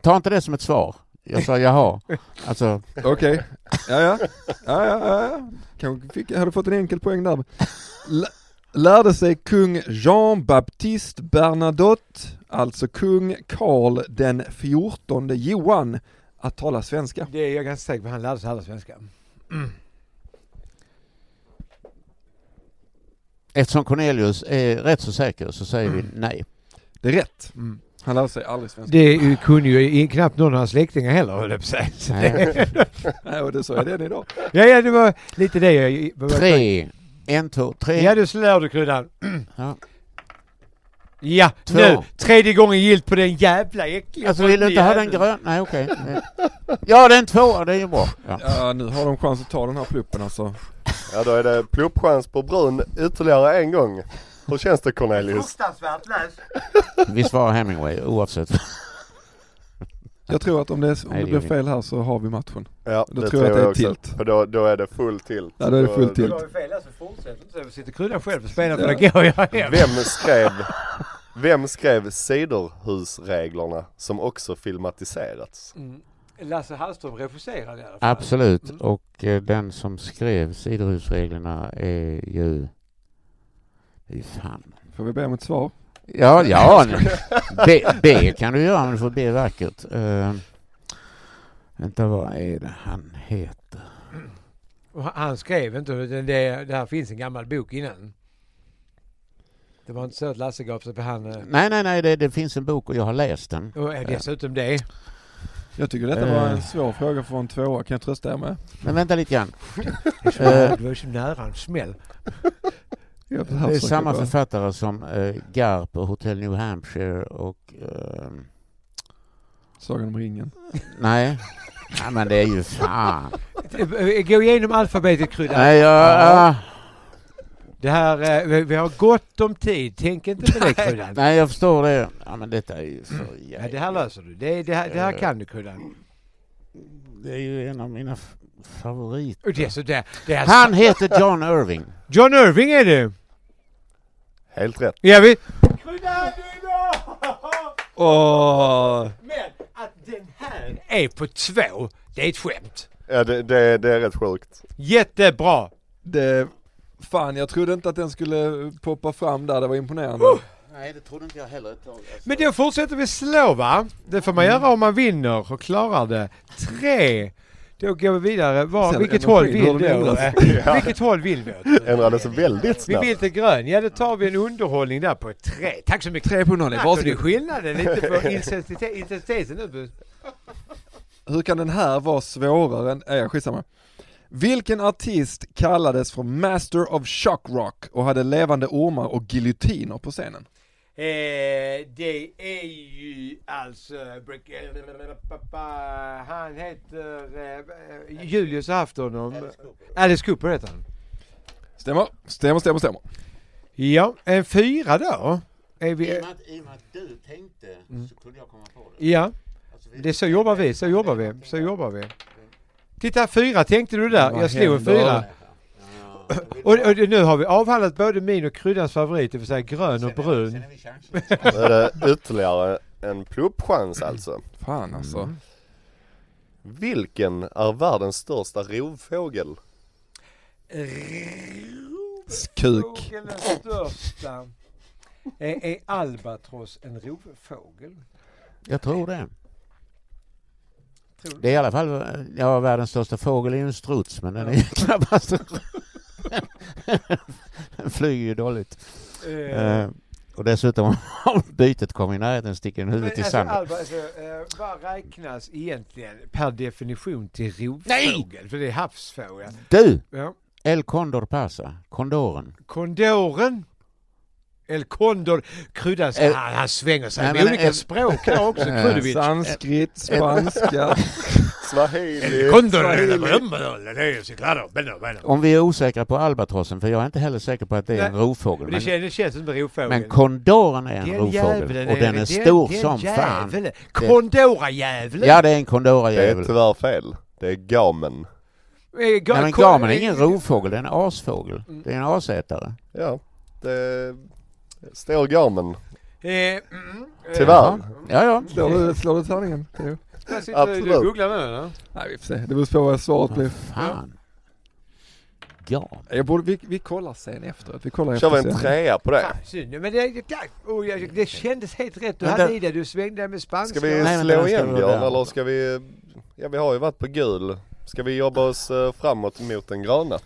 ta inte det som ett svar. Jag sa jaha. Alltså,
Okej. Ja, ja. Ja, ja, ja. ja. Kanske fick, hade fått en enkel poäng där. La, lärde sig kung Jean-Baptiste Bernadotte, alltså kung Karl den fjortonde Johan, att tala svenska.
Det är jag ganska säker på. Han lärde sig alla svenska.
Eftersom Cornelius är rätt så säker så säger vi nej.
Det är rätt.
Mm.
Han lärde sig aldrig svenska.
Det är ju- kunde ju i- knappt någon av hans släktingar heller höll jag på att säga. Så det-
Nej, och det så är det än idag.
Ja, ja, det var lite det jag...
Tre, en, två, tre.
Ja, du slår du kryddan.
Ja.
Ja,
Två.
nu! Tredje gången gillt på den jävla äckliga...
Alltså vill du inte ha den gröna? Nej okej. Ja det är en tvåa, det är ju bra. Ja.
Ja, nu har de chans att ta den här pluppen alltså.
Ja då är det pluppchans på brun ytterligare en gång. Hur känns det Cornelius?
Fruktansvärt lös.
Vi svarar Hemingway oavsett.
Jag tror att om det, är, om
Nej,
det
det
blir
gör vi
fel här så har vi matchen.
Ja,
Då tror jag att det är tilt.
För då, då är det full tilt.
Ja, då är det
Så-
full tilt.
Du har ju fel alltså, fortsätt inte så. Sitter kryddan själv och spelar för det går jag hem.
Vem skrev, vem skrev Ciderhusreglerna som också filmatiserats?
Mm. Lasse Hallström regisserade i alla fall.
Absolut. Och eh, den som skrev sidorhusreglerna är ju... Fy fan.
Får vi be om ett svar?
Ja, ja. B, B kan du göra men du får B vackert. Uh, vänta vad är det han heter?
Och han- han skrev inte, utan det, det här finns en gammal bok innan. Det var inte så att Lasse gav sig på han... eh,
Nej nej nej det, det finns en bok och jag har läst den.
Och eh, dessutom det.
Jag tycker detta var
Eh.
en svår fråga för en tvåa, kan jag trösta er med?
Men vänta lite grann. Eh,
Det var ju så nära en smäll.
Jag
Det
Alltså,
är
försöker
samma
bara.
författare som eh, Garp och Hotel New Hampshire och... ehm,
Sagan om ringen.
nej. nej, men det är ju fan.
Eh, Gå igenom alfabetet kryddan.
Nej, jag, ah,
Det här, eh, vi- vi har gott om tid. Tänk inte på det Kryddan.
nej, jag förstår det. Ja, men detta är ju för
Ja,
jävligt.
det här löser du. Det, det, här, det här kan du Kryddan.
Det är ju en av mina f- favoriter.
Och dessutom, det, det är
Han heter John Irving.
John Irving är det!
Helt rätt.
Ja, vi... Kryddan, du är bra!
Åh!
Men att den här är på två, det är ett skämt.
Ja, det, det, det är rätt sjukt.
Jättebra!
Det, fan jag trodde inte att den skulle poppa fram där, det var imponerande.
Nej, det trodde inte jag heller ett tag. Alltså,
Men då fortsätter vi slå va? Det får man
Mm.
göra om man vinner och klarar det. Tre! Då går vi vidare. Var,
Sen
vilket
energin,
håll vill
hur
du?
den ändras.
Eh, Vilket håll vill du?
Ändrades väldigt
Vi
snabbt.
vill till grön. Ja, då tar vi en underhållning där på tre. Tack så mycket.
Tre på noll,
Märker du skillnaden lite på intensite- intensiteten nu?
Hur kan den här vara svårare än, nej skitsamma. Vilken artist kallades för Master of Shock Rock och hade levande ormar och giljotiner på scenen?
Eh, det är ju alltså... Han heter... Eh, Julius har haft honom. Alice Cooper heter han.
Stämmer, stämmer, stämmer, stämmer.
Ja, en fyra då. Är vi,
I och med att du tänkte så kunde jag komma på
Mm.
Alltså,
ja, det är så jobbar vi, så jobbar vi, så jobbar vi. Titta, fyra tänkte du där.
Vad
Jag slog en
händer?
fyra. Och, och nu har vi avhandlat både min och kryddans favorit, det vill säga grön och brun.
Då är det ytterligare en pluppchans alltså.
Fan alltså.
Vilken är världens största rovfågel?
Kuk.
Fågelns största. Är, är albatross en rovfågel?
Jag tror det.
Tror du?
Det är i alla fall, eh, ja världens största fågel är ju en struts men den är ju knappast... den flyger ju dåligt. Eh, och dessutom om bytet kommer i närheten sticker den
Men
huvudet i
alltså,
sanden.
Alba, alltså, eh, vad räknas egentligen per definition till rovfågel? För det är havsfågel.
Du!
Ja.
El Condor Pasa, kondoren.
Kondoren. El Condor. Kryddan,
El-
han, han svänger sig
Eh,
med
Nej, men eh,
olika
El-
språk här också, Krudovic.
Eh, Sanskrit, spanska.
Swahili.
Condor. Det är så klart. Men- men-
Om vi är osäkra på albatrossen, för jag är inte heller säker på att det är en
Nej,
rovfågel.
Det
Men,
känns, det känns inte rovfågel.
men kondoren är en
Den
rovfågel
jäveln
och den är stor som fan.
jäveln. Kondorajäveln.
Ja det är en
Det är
kondorajävel.
tyvärr fel. Det är gamen.
Eh, ga-
Nej men
kon-
gamen är ingen
eh,
rovfågel, det är en asfågel. Det är en asätare.
Ja, det står gamen.
eh, mm, eh,
Tyvärr.
Ja, ja.
Slår du, slår du tärningen? Theo?
där sitter du och
Absolut.
googlar nu eller?
Nej vi får se, det beror på vad svaret blir.
Fan. Ja.
Jag borde, vi, vi kollar sen efteråt. Vi kollar
Kör vi
efter
en
sen.
trea på det?
Fan, synd. Men det, det, oh, jag- det kändes helt rätt. Du
Men
hade
det-
i det. Du svängde med spanska.
Ska vi
Nej, men den
slå
ska
igen
vara
Björn
där.
eller ska vi, ja vi har ju varit på gul. Ska vi jobba oss eh, framåt mot den gröna?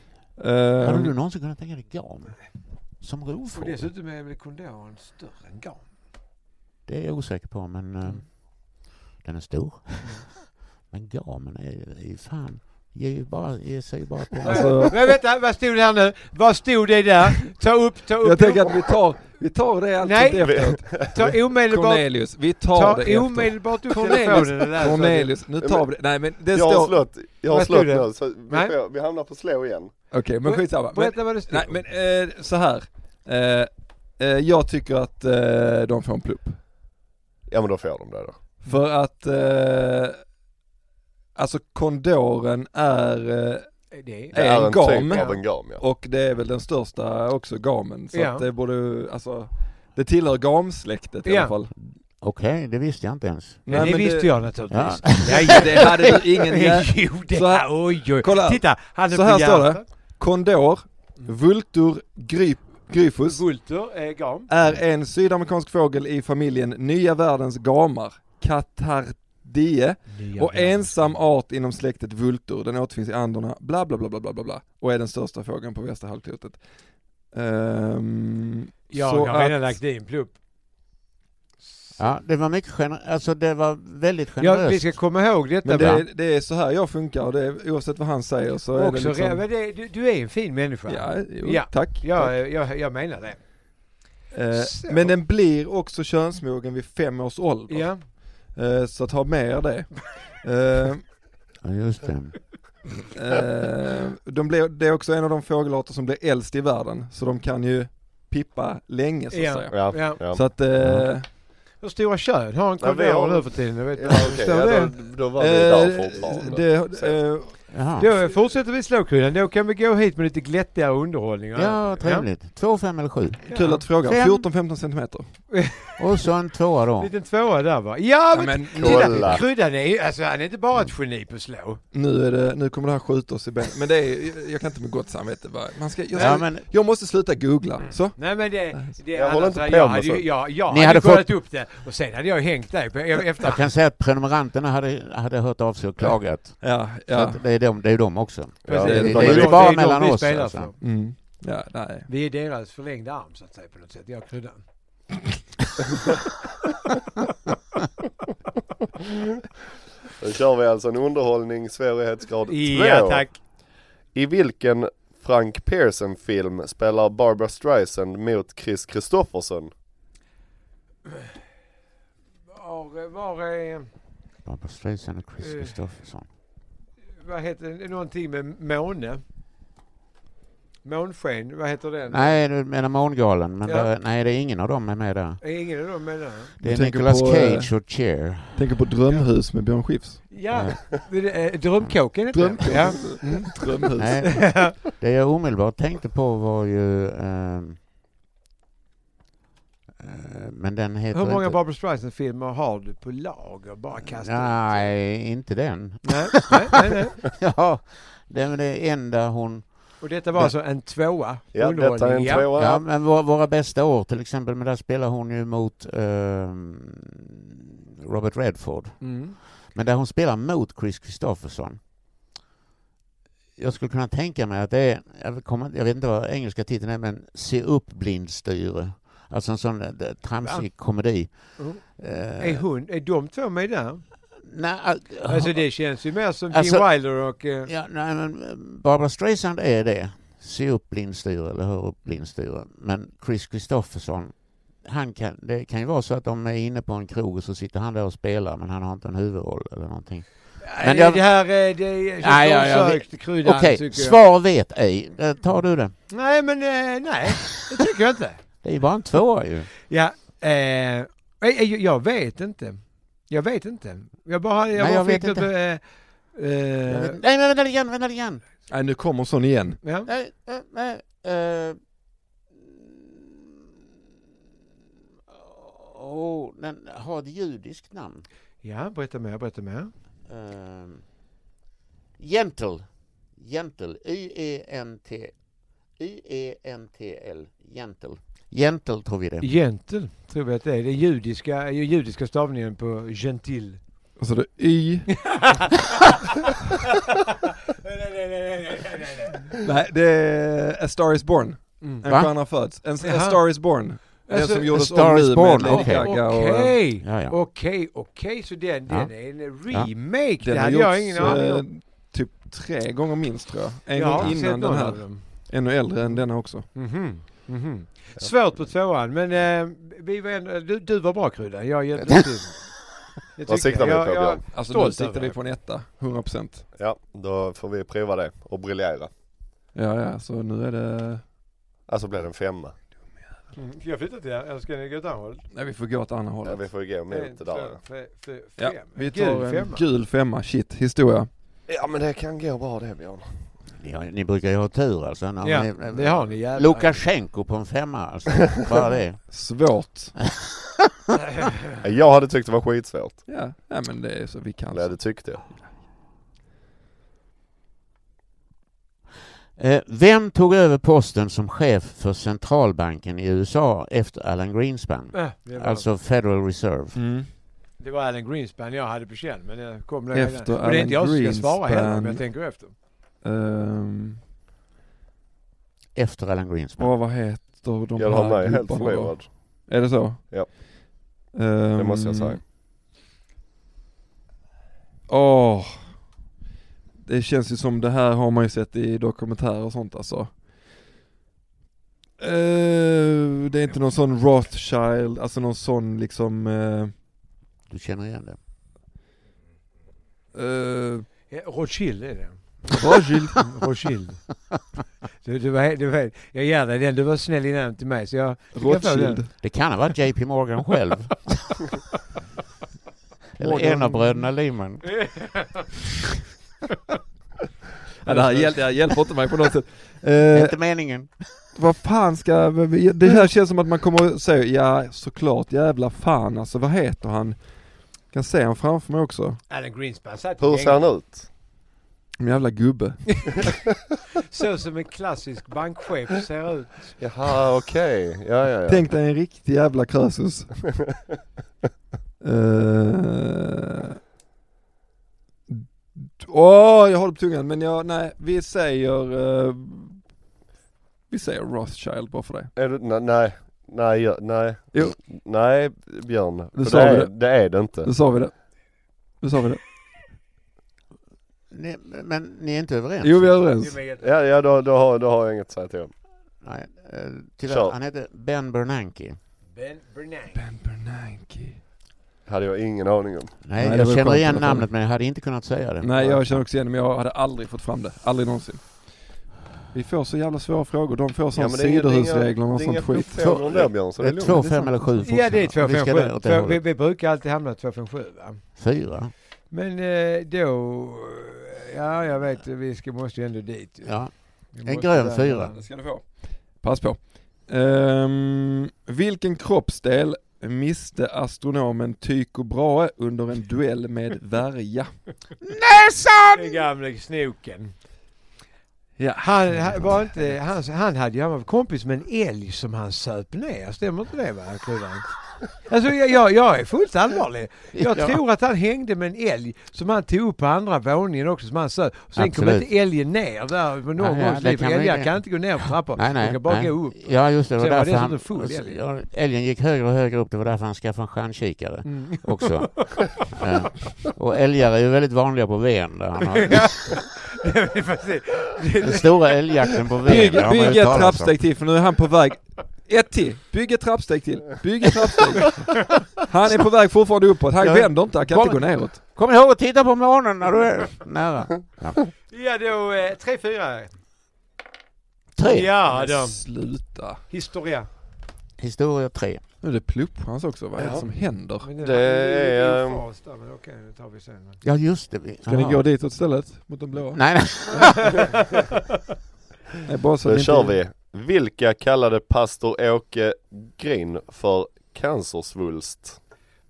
Ehm,
Hade du någonsin kunnat tänka dig gam? Som
Och
rovfågel?
dessutom är väl kondoren större än gam?
Det är jag osäker på, men eh, den är stor. Men gamen är, är ju fan, ger ju bara, ger sig ju bara på...
Alltså-
Men vänta, vad stod det här nu? Vad stod det där? Ta upp, ta upp.
jag tänker att vi tar, vi tar det alltid
Nej.
efteråt.
ta omedelbart,
Cornelius, vi tar
ta
det efteråt.
omedelbart upp
Cornelius,
telefonen. det där, så att-
Cornelius, nu tar vi det. Nej men det
Jag har
står...
slått, jag har
Vad
slått
stod det?
nu så vi,
Nej.
får, vi hamnar på slå igen.
Okej, men skitsamma. Men,
Berätta vad det stod.
nej men eh, så här. Eh, eh, jag tycker att eh, de får en plupp.
Ja men då får de det då.
För att eh, Alltså kondoren är, eh,
Det är...
Det
Är
är
en
en
gam.
typ av en gam ja.
och det är väl den största också gamen, så
Ja.
att det borde, alltså Det tillhör gamsläktet i
Ja.
alla fall.
Okej, det visste jag inte ens.
Nej, det visste jag naturligtvis.
Ja.
Ja,
Det hade du ingen jä-
jo, det
Så här-
oj, oj.
Kolla här.
Titta, han är
Så
på
här står det.
hjärtat.
Kondor,
Mm.
vultur, gryp, gryfus
Vultur, eh, gam.
är en sydamerikansk fågel i familjen Nya världens gamar, Catardie, och ensam art inom släktet vultur. Den återfinns i Anderna, bla bla bla bla bla bla, bla och är den största fågeln på västra halvklotet. Ehm,
Ja,
så
jag har redan
att-
lagt i en plupp.
Ja, det var mycket generöst, alltså det var väldigt
Ja,
generöst.
vi ska komma ihåg detta.
Men det,
va?
är- det är så här jag funkar och det är, oavsett vad han säger så är
Också,
det liksom...
men det, du, du är en fin människa.
Ja, jo,
Ja.
tack.
Ja, jag, jag menar det.
tack. Eh,
så.
men den blir också könsmogen vid fem års ålder.
Ja.
Eh, så att ha med er det. Eh,
Ja, just det.
eh, de blir, det är också en av de fågelarter som blir äldst i världen, så de kan ju pippa länge så att
Ja.
säga.
Ja,
Ja.
ja.
Så att, eh,
Ja.
Hur stora kön har en
Ja, vi har-
kondor nu för tiden? Jag vet
Ja,
inte.
okej,
Står
ja,
det?
då, då var vi där
eh,
fortfarande.
det, eh,
Jaha.
Då fortsätter vi slåkryddan. Då kan vi gå hit med lite glättigare underhållning.
Ja, trevligt. Två, fem eller sju.
kul att fråga,
Fem.
14-15 centimeter.
Och så en tvåa
En
då.
liten tvåa där va? Ja, men,
men,
titta!
kolla.
Kryddan är ju, alltså han är inte bara ett geni på att slå.
nu, är det, nu kommer det här skjuta oss i benet, men det är, jag kan inte med gott samvete bara, man ska, jag, ska,
Ja, men
jag måste sluta googla,
Mm.
så.
Nej men det... det
Jag håller inte
annars-
på
jag
med
hade ju,
sånt.
jag, jag
Ni
hade,
hade
kollat upp det och sen hade jag hängt dig på, efter...
jag kan säga att prenumeranterna hade, hade hört av sig och klagat.
Ja,
Så
ja.
att det är de, det är de också.
Precis.
det är-
de-
det är ju
de-
bara
de vi
mellan oss,
spelar
alltså.
för.
Mm. Ja, nej.
Vi är deras förlängda arm så att säga på något sätt, jag och kryddan.
Då kör vi alltså en underhållning svårighetsgrad 2.
Ja tack!
I vilken Frank Pearson film spelar Barbara Streisand mot Chris Kristofferson?
Var, var är...
Barbra Streisand och Chris
Eh.
Kristoffersson.
Vad heter det? Någonting med måne? Månsken, vad heter den?
Nej, du menar Mångalen, men
Ja.
där, nej det är ingen av dem är med där.
Är ingen av dem med där?
Det
Jag
är
tänker
Nicolas
på, eh,
Cage och Cher.
Tänker på drömhus med Björn Skifs.
Ja, det är- drömkåken heter den.
Drömkåken.
Ja.
Mm. Drömhus.
Nej, det jag omedelbart tänkte på var ju... ehm, eh, men den heter
Hur många
inte...
Barbra Streisand-filmer har du på lager? Bara kasta ut.
Nej, inte den.
Nej, nej, nej, nej.
ja, det är det enda hon...
Och detta var alltså en tvåa?
Ja,
underhållning,
detta är en
ja.
tvåa.
Ja, men våra, våra bästa år till exempel, men där spelar hon ju mot ehm, Robert Redford.
Mm.
Men där hon spelar mot Chris Kristofferson. Jag skulle kunna tänka mig att det är, jag, vill komma, jag vet inte vad engelska titeln är, men Se upp blindstyre. Alltså en sån där tramsig komedi.
Mm.
Eh,
Är, hon, är de två med där?
nej,
Alltså det känns ju mer som
Alltså-
Gene Wilder och... eh,
ja, nej, men Barbara Streisand är det. Se upp blindstyre eller hör upp blindstyre. Men Chris Kristofferson, han kan, det kan ju vara så att de är inne på en krog och så sitter han där och spelar men han har inte en huvudroll eller någonting.
Nej,
Men jag-
det här är... Det känns
Nej, ja, ja,
långsökt, kryddan
Okej,
tycker jag.
svar vet ej. Eh, Tar du det?
Nej, men eh, nej, det tycker jag inte.
Det är ju bara en tvåa ju.
Ja, eh, eh, jag, jag vet inte. Jag vet inte. Jag bara, jag
Nej,
bara
jag
fick
vet
något... eh, eh,
Nej, nej, vänta lite grann, vänta lite grann.
Nej, nu kommer sån igen.
ja.
Nej, nej, nej. eh. Åh, den har ett judiskt namn.
ja, berätta mer, berätta mer.
Uh, Ehm, Gentle. Gentle. Y-E-N-T. Y-E-N-T-L. Gentle. Gentle tror vi det.
Gentil, tror vi att det är. Den judiska, judiska stavningen på gentil.
Och så är det Y. Nej, det är A Star Is Born.
Mm.
En
Va?
stjärna föds. En, A
Jaha.
Star Is Born. Den
Alltså,
som gjordes
Star
om
Is
nu
Born,
med Lady
okej.
Gaga och...
Okej,
Ja, ja.
okej, okej, så den, den
Ja.
är en remake.
Den har
det hade jag ingen aning
gjorts
om.
eh, typ tre gånger minst tror jag. En
Jag har
gång
inte sett
innan den
någon av
här.
dem.
Ännu äldre än denna också.
Mhm, mhm. Svårt på tvåan, men eh, vi var ändå, du, du var bra Kryddan. Jag hjälpte
Ja.
till. Jag
Vad
tycker
siktar vi
jag-
på,
jag-
Björn?
Alltså
Stolt
nu sitter
över
vi
det.
på en etta, 100%.
Ja, då får vi prova det och briljera.
Ja, ja, så nu är det...
Alltså blir det en femma.
Mm, Ska jag flytta till er eller ska ni gå åt andra hållet?
Nej, vi får gå åt andra
Ja,
hållet.
vi får ju gå mot det där.
Fem, fem,
Ja,
fem.
vi
Gul
tar en
femma.
gul femma. Shit, historia.
Ja men det kan gå bra det Björn.
Ni, har, ni brukar ju ha tur alltså. När
Ja,
ni,
det har ni jävlar.
Lukasjenko på en femma alltså. Bara det.
Svårt.
Jag hade tyckt det var skitsvårt.
Ja, ja men det är så vi kan.
Eller jag hade tyckt det.
Eh, Vem tog över posten som chef för centralbanken i USA efter Alan Greenspan?
Äh, det, var,
Alltså Federal Reserve.
Mm.
det var Alan Greenspan jag hade på känn, men jag kom längre
Efter
Och det är
Alan
inte jag som ska svara heller,
Greenspan.
men jag tänker efter.
Ehm,
Efter Alan Greenspan.
åh, vad heter de
Jag har mig
här
helt
grupperna då?
förlorad.
Är det så?
Ja.
Ehm,
Det måste jag säga.
Åh. Det känns ju som det här har man ju sett i dokumentärer och sånt alltså. Eh, det är inte någon sån Rothschild, alltså någon sån liksom... eh,
Du känner igen det?
eh,
Eh, Rothschild är det.
Rothschild.
Rothschild. Du, du var, du var, jag ger dig den, du var snäll innan till mig så jag...
Rothschild.
Det kan ha varit JP Morgan själv. Eller en av bröderna Lehman.
Ja, det, här hjäl- det här hjälper inte mig på något sätt.
Det är
Eh,
inte meningen.
vad fan ska, det här känns som att man kommer att säga, ja såklart jävla fan alltså vad heter han? Kan se han framför mig också.
Alan Greenspan satt
Hur ser han ut?
En jävla gubbe.
Så som en klassisk bankchef ser ut.
Jaha okej. Ja ja ja.
Tänk dig en riktig jävla krösus. Eh, Åh, jag har det på tungan men jag, nej, vi säger, eh, vi säger Rothschild bara för det.
Är du, nej, nej, nej, ja, nej.
Jo.
Nej Björn,
Du
för
sa
det,
det.
är, det är det inte.
Nu sa vi det. Nu sa vi det.
Ni, men ni är inte överens?
Jo vi är överens.
Ja, ja då, då, har, då har jag inget att säga till om.
Nej, eh, tyvärr.
Kör.
Han heter Ben Bernanke.
Ben Bernanke.
Ben Bernanke.
Hade jag ingen aning om.
Nej,
Nej, det
jag
var
känner
skönt i
igen
alla fall.
namnet men jag hade inte kunnat säga det.
Nej jag känner också igen det, men jag hade aldrig fått fram det. Aldrig någonsin. Vi får så jävla svåra frågor. De får sådana
men det är inga- det är inga-
sidohusregler och
det är inga
sånt skit.
frågor om det Björn, så
Det
det är
är
lugnt.
två,
det är
fem
sant.
eller sju
Ja det är
fortfarande. Vi ska där åt det
257. Vi,
hållet.
vi brukar alltid hamna 257 va?
Fyra?
Men eh, då... Ja jag vet, vi ska, måste ju ändå dit. ju.
Ja.
Vi
en
måste
grön
där.
fyra.
Det ska du få. Pass på. Ehm, vilken kroppsdel miste astronomen Tycho Brahe under en duell med värja?
Den gamle snoken.
Ja.
Han, han, var inte, han, han hade ju, han var kompis med en älg som han söp ner, stämmer inte det va? Kryddan? Alltså jag, jag, jag är fullt allvarlig. Jag
Ja.
tror att han hängde med en älg som han tog upp på andra våningen också som han söp. Sen kom
Absolut.
inte älgen ner där på någon
Nej, ja,
gångs
det
liv.
kan man ju
Älgar
inte.
kan inte gå ner för trappor.
Nej, nej.
De kan bara
nej.
gå upp.
Ja, just det. Det
Sen
var
var
därför
det
han...
som en full älg.
Ja, Älgen gick högre och högre upp. Det var därför han skaffade en stjärnkikare
Mm.
också. ja. Och älgar är ju väldigt vanliga på Ven. Där han har...
Precis.
Den stora älgjakten på Ven.
Bygg,
har man ju
bygg ett
talat om.
trappsteg till för nu är han på väg. Ett till. Bygg ett trappsteg till. Bygg ett trappsteg. Han är på väg fortfarande uppåt. Han
Ja.
vänder inte. Han kan inte gå
Kom.
neråt.
Kom ihåg att titta på månen när du är nära. Ja.
Ja då, eh, tre, fyra.
Tre.
Ja då.
Sluta.
Historia.
Historia tre.
Nu är det plupprans också. Vad är det
Ja.
som händer?
Men nu
Det
hade vi ju
är,
en
ehm,
eh,
fas där, men okej, det tar vi sen.
Ja, just det. Vi-
Ska ni
Jaha.
gå ditåt istället? Mot de blåa?
Nej, nej.
Nej, bara så
Då
ni
kör
inte...
vi. Vilka kallade pastor Åke Green för cancersvulst?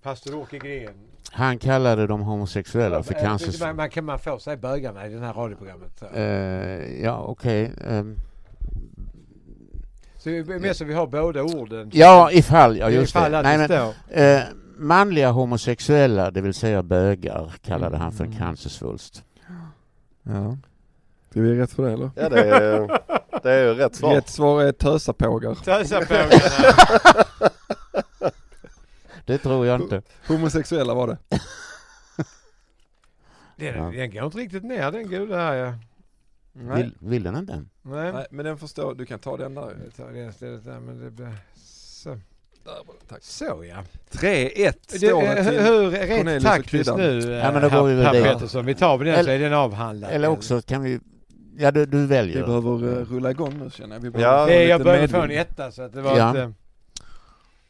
Pastor Åke Gren.
Han kallade de homosexuella för
Eh,
cancer...
man, man, kan man få säga bögarna i det här radioprogrammet? Så.
Eh, ja, okej. ehm.
Så det är mest att vi har båda orden.
ja, ifall. Ja, just
Ifall
det.
att
Nej, men,
står.
eh, manliga homosexuella, det vill säga bögar, kallade han för
Mm.
en cancersvulst.
Ja. Ska vi ge rätt för det eller?
Ja, det är, det är rätt svar.
Rätt svar är tösapågar.
Tösapågarna.
Det tror jag inte.
Homosexuella var det.
Den, den går inte riktigt ner den gula här ja.
Nej,
Vill, vill den inte?
Nej.
Nej men den förstår, du kan ta den där.
Jag tar det istället där men det blir... Så.
Där var det, Tack.
så ja.
3-1
Du,
står det
eh,
till.
hur
Cornelius
rent
och
taktiskt
kryddan.
nu eh,
Ja, men då går vi väl
herr
dit.
Pettersson. Vi tar väl den så
Eller-
är den avhandlad.
Eller också kan vi... Ja, du, du väljer.
Vi behöver eh, rulla igång nu känner jag. Vi
Ja,
behöver
Det, jag
lite
började få en
medvind.
etta så att det var
Ja.
inte...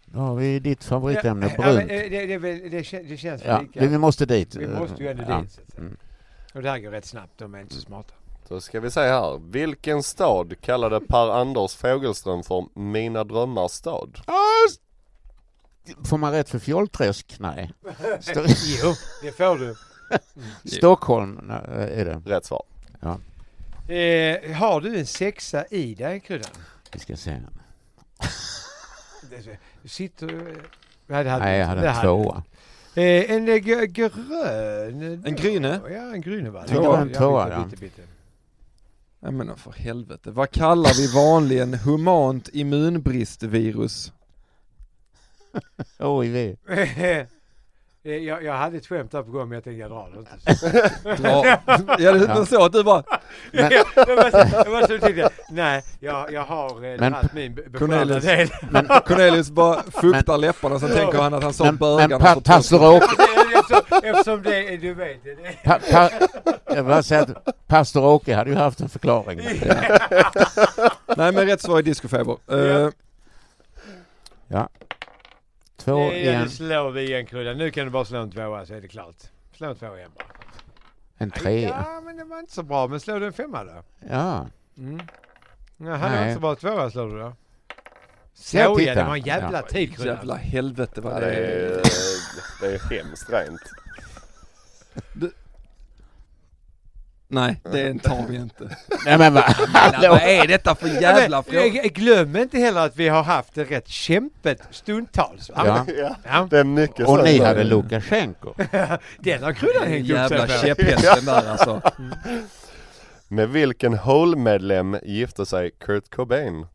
Då har vi ditt favoritämne,
Ja, men,
brunt.
eh, det, det, är väl- det, kän- det känns
Ja,
väl lika.
vi vi måste dit.
Vi måste ju ändå
eh, Ja.
dit. Så att säga.
Mm.
Och det här går rätt snabbt, de är inte så smarta.
Då ska vi se här. Vilken stad kallade Per-Anders Fogelström för Mina drömmars stad?
Får man rätt för fjollträsk? Nej. Sto-
Eh, Jo, det får du.
Stockholm nej, är det.
Rätt svar.
Eh, har du en sexa i dig, Kryddan?
Vi ska se.
Det- Du sitter... eh, Nej, det hade du
Nej, jag
inte.
hade
Det
en
hade du
tvåa.
inte. Eh, en eh, gr- grön... eh,
En gryne?
Ja, en gryne var det.
En grön tvåa, ja.
bitte, bitte.
Nej men för helvete. Vad kallar vi vanligen humant immunbristvirus?
HIV.
Eh, jag, jag hade ett skämt där på gång men jag tänkte jag drar det inte.
Dra. Ja det är
Ja.
så att du bara,
Men,
Det var så- det var så tidigare. Nej, jag, jag har eh,
Men-
haft min be- beskärda
Cornelius.
del.
men,
Cornelius bara fuktar läpparna sen tänker han att han sa
men, men
bögarna
pa,
för
pastor
trösten.
Åke,
eftersom, eftersom det är, du vet det. är-
pa, pa, jag vill bara säga att pastor Åke hade ju haft en förklaring.
Nej men rätt svar är discofeber. Eh,
Ja.
Två
det är,
igen,
nu slår vi igen kryddan. Nu kan du bara slå en tvåa så är det klart. Slå en tvåa igen bara.
en trea.
Ja, men det var inte så bra. Men slår du en femma då?
Ja.
Mm. Ja, han
Nej.
har inte så bra tvåa slår du då. Så
Ja,
ja,
titta.
det var en jävla
Ja.
tid kryddan.
Jävla helvete
Ja,
vad
det,
det
är,
är.
det är hemskt rent.
Nej det tar vi inte.
Nej men va?
Vad är detta för jävla
Men,
fråga?
eh, Glöm inte heller att vi har haft det rätt kämpigt stundtals. va?
Ja.
Ja,
Ja.
det är mycket
Och ni
så.
hade Lukasjenko.
Den har kryddan hängt upp sig
Jävla
på.
käpphästen där alltså.
Med vilken Hole-medlem gifte sig Kurt Cobain?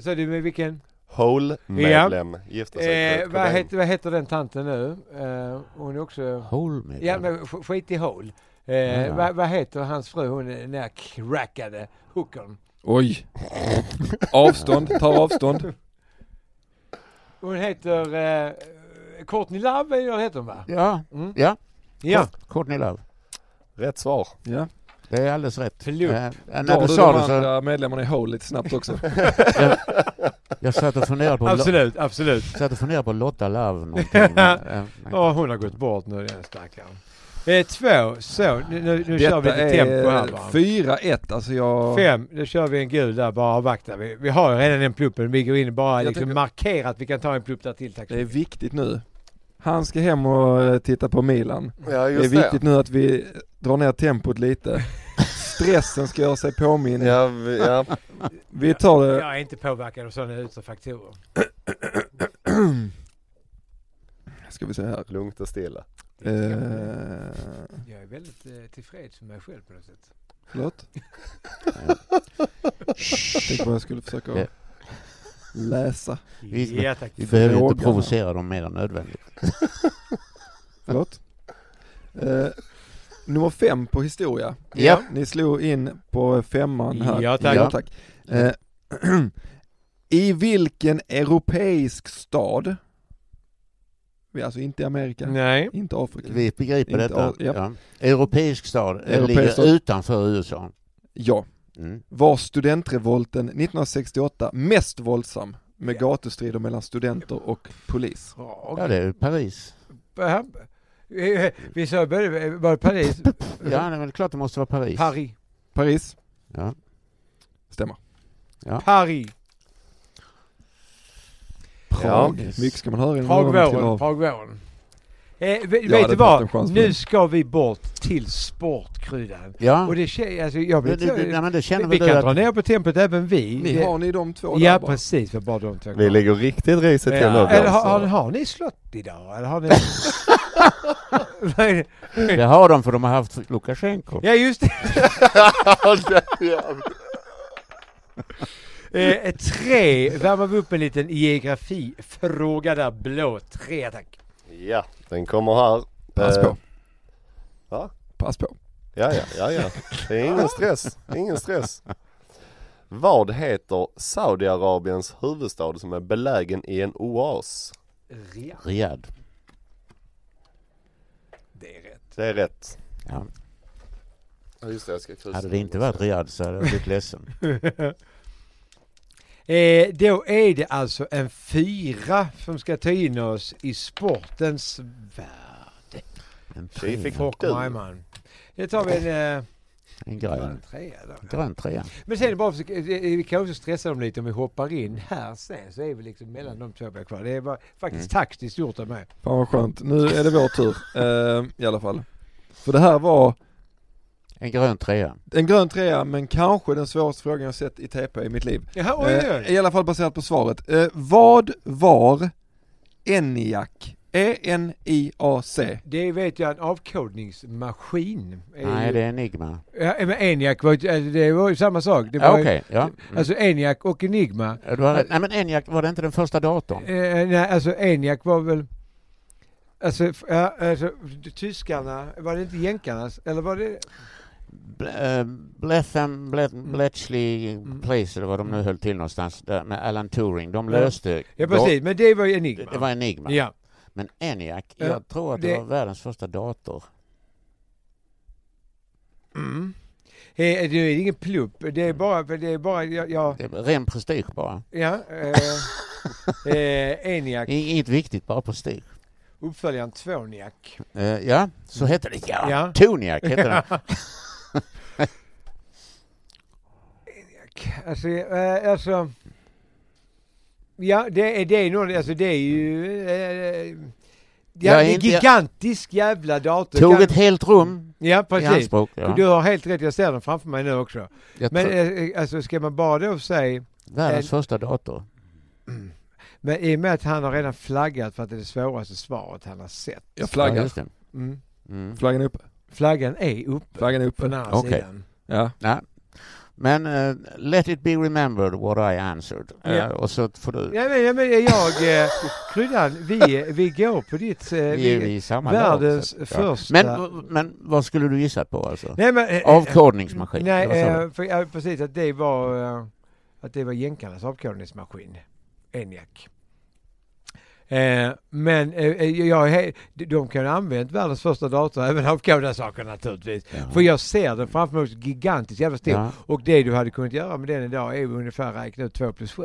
Så du med vilken?
Hole-medlem gifte sig
Eh,
Kurt
vad,
Cobain.
heter, vad heter den tanten nu? Eh, hon är också...
Holmen.
Ja, men sk- skit i hål. Eh,
Ja.
Vad vad heter hans fru, hon den där crackade hookern?
Oj. Avstånd, tar avstånd.
Hon heter eh, Courtney Love, eller vad heter hon va?
Ja,
Mm.
ja.
Ja.
Courtney Love.
Rätt svar.
Ja.
Det är alldeles rätt.
Förlåt.
Eh, när
Tar
du
du
sa det
de
så,
andra medlemmarna i Hole lite snabbt också?
jag satt och funderade på, lo,
Absolut, absolut.
satt och funderade på Lotta Love någonting. men, eh, nej.
Ja, hon har gått bort nu den stackaren. Eh, två, så. Nu, nu, nu kör vi
Detta
lite tempo här bara.
är eh, 4-1 alltså jag...
Fem, då kör vi en gul där bara avvaktar vi. Vi har ju redan en pluppen, vi går in och bara
Jag
liksom
tänker-
markerar att vi kan ta en plupp där till tack så
Det är
mycket.
viktigt nu. Han ska hem och eh, titta på Milan.
Ja,
det är viktigt nu att vi drar ner tempot lite. Stressen ska göra sig påminn.
Ja, vi, ja.
Vi tar det.
Jag är inte påverkad av sådana yttre faktorer.
Ska vi se här.
Lugnt och stilla.
Det ska man inte.
Eh,
Jag är väldigt eh, tillfreds med mig själv på något sätt.
förlåt? Tänk vad jag skulle försöka
Ja.
läsa.
Vi-
Ja tack.
Vi behöver ju inte
Frågan.
provocera dem mer än nödvändigt.
Förlåt? Eh, nummer fem på historia.
Ja.
Ni slog in på femman här.
Ja, tack.
Ja, tack. Eh, I vilken europeisk stad, vi är alltså inte i Amerika,
Nej.
inte Afrika,
Vi begriper
Inte
detta.
all- ja.
Ja. Europeisk stad eh,
Europeisk
ligger
stad.
utanför USA.
ja,
Mm.
var studentrevolten 1968 mest våldsam med
Ja.
gatustrider mellan studenter och polis?
Ja, det är ju Paris.
Ja, eh, Vi sa i början, var det Paris?
Ja, det är väl klart det måste vara Paris.
Paris.
Paris?
Ja.
Stämmer.
Paris.
Prag.
Yes.
Mycket ska man höra innan man trillar
Pragvåren,
av.
Pragvåren. Eh, v-
hade
vet du
inte haft en chans
vad?
på det.
Nu ska vi bort till sportkryddan.
Ja,
Och det känner, alltså, jag
det,
vet,
det, det, nej, men det
vi,
känner
vi
väl
kan
du
dra
att...
ner på tempot även vi.
Ni
Det-
har ni de två
ja
där bara.
precis, vi har bara de två
Vi
kvar.
lägger riktigt riset till nu.
Ja. Eller
Björn,
har,
så-
har, har ni slott idag? Eller har ni... Vad är det?
Det har de för de har haft Lukasjenko.
ja just det.
Ja.
Eh, tre, värmer vi upp en liten geografifråga där blå. Tre tack.
ja, den kommer här.
Pass
Eh,
på.
va?
Pass på.
Ja, ja, ja, ja. Det är ingen stress. Det är ingen stress. Vad heter Saudiarabiens huvudstad som är belägen i en oas?
Riyadh.
Riyadh.
Det är rätt.
Det är rätt.
Ja.
Ja, just det, jag ska kryssa.
Hade det inte varit Riyadh så hade jag blivit ledsen.
Eh, då är det alltså en fyra som ska ta in oss i sportens värld.
En,
Tji fick
trea,
Hockeyman. Nu tar vi en, eh,
en
en
grön,
trea då.
grön trea.
Men sen är det bara, för- eh, vi kan också stressa dem lite om vi hoppar in här sen så är vi liksom mellan de två vi har kvar. Det var faktiskt taktiskt gjort av mig.
Fan vad skönt. Nu är det vår tur. Ehm, I alla fall. För det här var
En grön trea.
en grön trea men kanske den svåraste frågan jag sett i TP i mitt liv.
Jaha, oj, oj,
Eh,
oj.
I alla fall baserat på svaret. Eh, vad var E ENIAC? E-N-I-A-C.
Det vet jag, en avkodningsmaskin. är
Nej,
ju-
det är Enigma.
Ja, men Eniac var, ju- alltså, det var ju samma sak. Det var
Ja,
ju-
Okej, ja. Mm.
Alltså Eniac och Enigma.
Ja, Du har, rätt. nej men Eniac, var det inte den första datorn?
Eh, nej, alltså Eniac var väl... Alltså, f- ja, alltså tyskarna, var det inte jänkarnas? Eller var det...
Ble- eh, Bletham, Ble- Bletchley
Mm.
Place eller vad de nu höll till någonstans där med Alan Turing. De
Ja.
löste...
Ja precis, men det var ju
Det,
Enigma.
det var Enigma.
Ja.
Men Eniac,
Ja,
jag tror att det,
det-
var världens första dator.
Mm. Eh, det är ingen plupp, det är bara... för Det är bara jag, jag,
Det var ren prestige bara.
ja, eh, eh, Eniac,
I- Inget viktigt, bara prestige.
uppföljaren Tvåniac.
Eh, ja, så hette det. Ja,
Mm. Ja.
Toniac hette den.
Alltså, eh, alltså... Ja, det är, det är nog, alltså det är ju... Eh, ja,
Jag är
det är
inte- jag-
gigantisk jävla dator.
Tog
Kan-
ett helt rum
Ja,
i
precis.
anspråk. Ja.
Du har helt rätt, jag ser den framför mig nu också.
Jag
Men
tror-
eh, alltså ska man bara då säga,
världens
eh,
första dator.
men i och med att han har redan flaggat för att det är det svåraste svaret han har sett.
Jag
Ja,
flaggar.
just det.
Mm.
Mm.
Flaggan är uppe.
Flaggan är uppe
Flaggan är
på den
uppe.
andra
Okej.
sidan.
Ja.
Nej. Men eh, let it be remembered what I answered. Eh,
Ja.
och så får du...
Ja, men, ja, men jag, eh, Kryddan, vi, vi går på ditt... eh,
Vi är ju i samma lag,
världens
så att-
första-
Men, men vad skulle du gissat på alltså?
Nej, men, eh,
Avkodningsmaskin?
Nej,
det var så det-
eh, för, ja, precis att det var eh, att det var jänkarnas avkodningsmaskin, Eniac. Eh, men eh, eh, jag, är he- de- de kan ha använt världens första dator, även avkoda saker naturligtvis.
Ja.
För jag ser den framför mig, som gigantiskt jävla stor.
Ja.
Och det du hade kunnat göra med den idag är ju ungefär räkna ut 2 plus 7.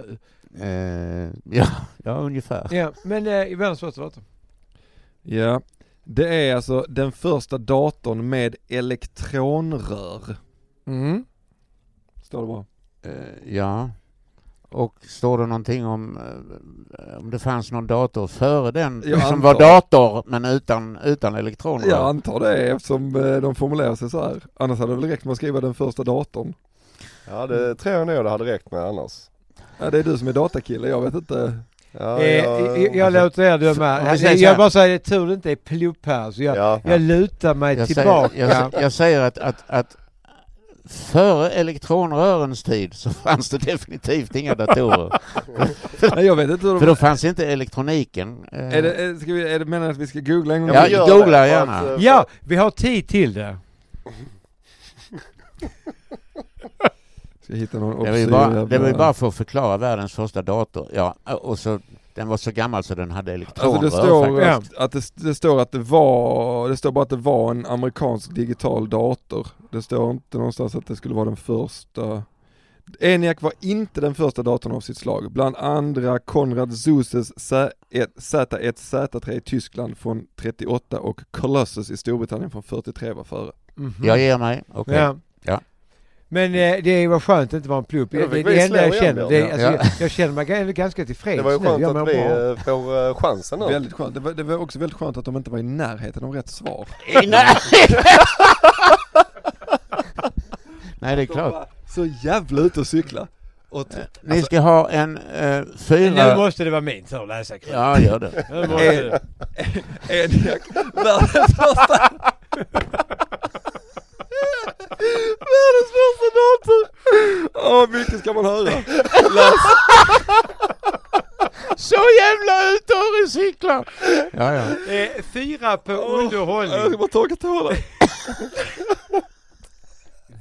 Eh, ja, ja, ungefär.
Ja, men eh, i världens första dator.
Ja. Det är alltså den första datorn med elektronrör.
Mm.
Står det bra?
Eh, ja. Och står det någonting om eh, om det fanns någon dator före den
Jag
som
antar.
var dator men utan, utan elektroner?
Jag antar det eftersom eh, de formulerar sig så här. Annars hade det väl räckt med att skriva den första datorn.
Ja, det tror jag nog det hade räckt med annars.
Ja, det är du som är datakille, jag vet inte.
Ja,
eh,
jag-
jag, jag låter er döma.
Om vi
Alltså,
säger så
jag
här.
bara säger det är tur det inte är plupp här så jag,
ja.
jag lutar mig
Jag
tillbaka.
säger, jag, jag säger att, att, att före elektronrörens tid så fanns det definitivt inga datorer.
Nej, jag vet inte hur de...
För då fanns inte elektroniken. Eh,
Är det, är- ska vi, är det meningen att vi ska googla en gång?
Ja,
men gör
googla
det, för
gärna.
att, eh,
Ja, vi har tid till det.
Ska hitta någon
Det var, ju
obskyr
bara,
jävla-
det var ju bara för att förklara världens första dator. Ja, och så, den var så gammal så den hade elektronrör
Alltså det står
faktiskt.
att, att det, det står att det var, det står bara att det var en amerikansk digital dator. Det står inte någonstans att det skulle vara den första. ENIAC var inte den första datorn av sitt slag. Bland andra Konrad Zuses Z1, Z1 Z3 i Tyskland från 38 och Colossus i Storbritannien från 43 var före.
Mhm.
Jag ger mig. Okej.
Ja.
Ja.
Men eh, det var skönt att inte vara en plupp.
Ja, då
Det,
fick
det,
vi
det enda jag
slå igen
känner.
den.
Det, alltså,
Ja.
jag, jag känner mig g- ganska
Det
tillfreds
var ju
nu.
skönt
Jag mår
att vi
bra.
eh, får eh, chansen nu.
Väldigt skönt. Det var, det var också väldigt skönt att de inte var i närheten av rätt svar.
Nej, det är
De
klart.
Alltså-
Eh,
var så jävla ute och cykla. Och t-
Ni ska ha en eh,
Nu
fyra...
måste det vara min tur att läsa Chris.
Ja, gör det. Eh,
Nu måste det.
en jack, världens första... världens första dator! Åh, mycket ska man höra.
Så jävla ute och cyklar! Ja, ja.
Eh, fyra på
Jag ska
underhållning.
bara torka tårna.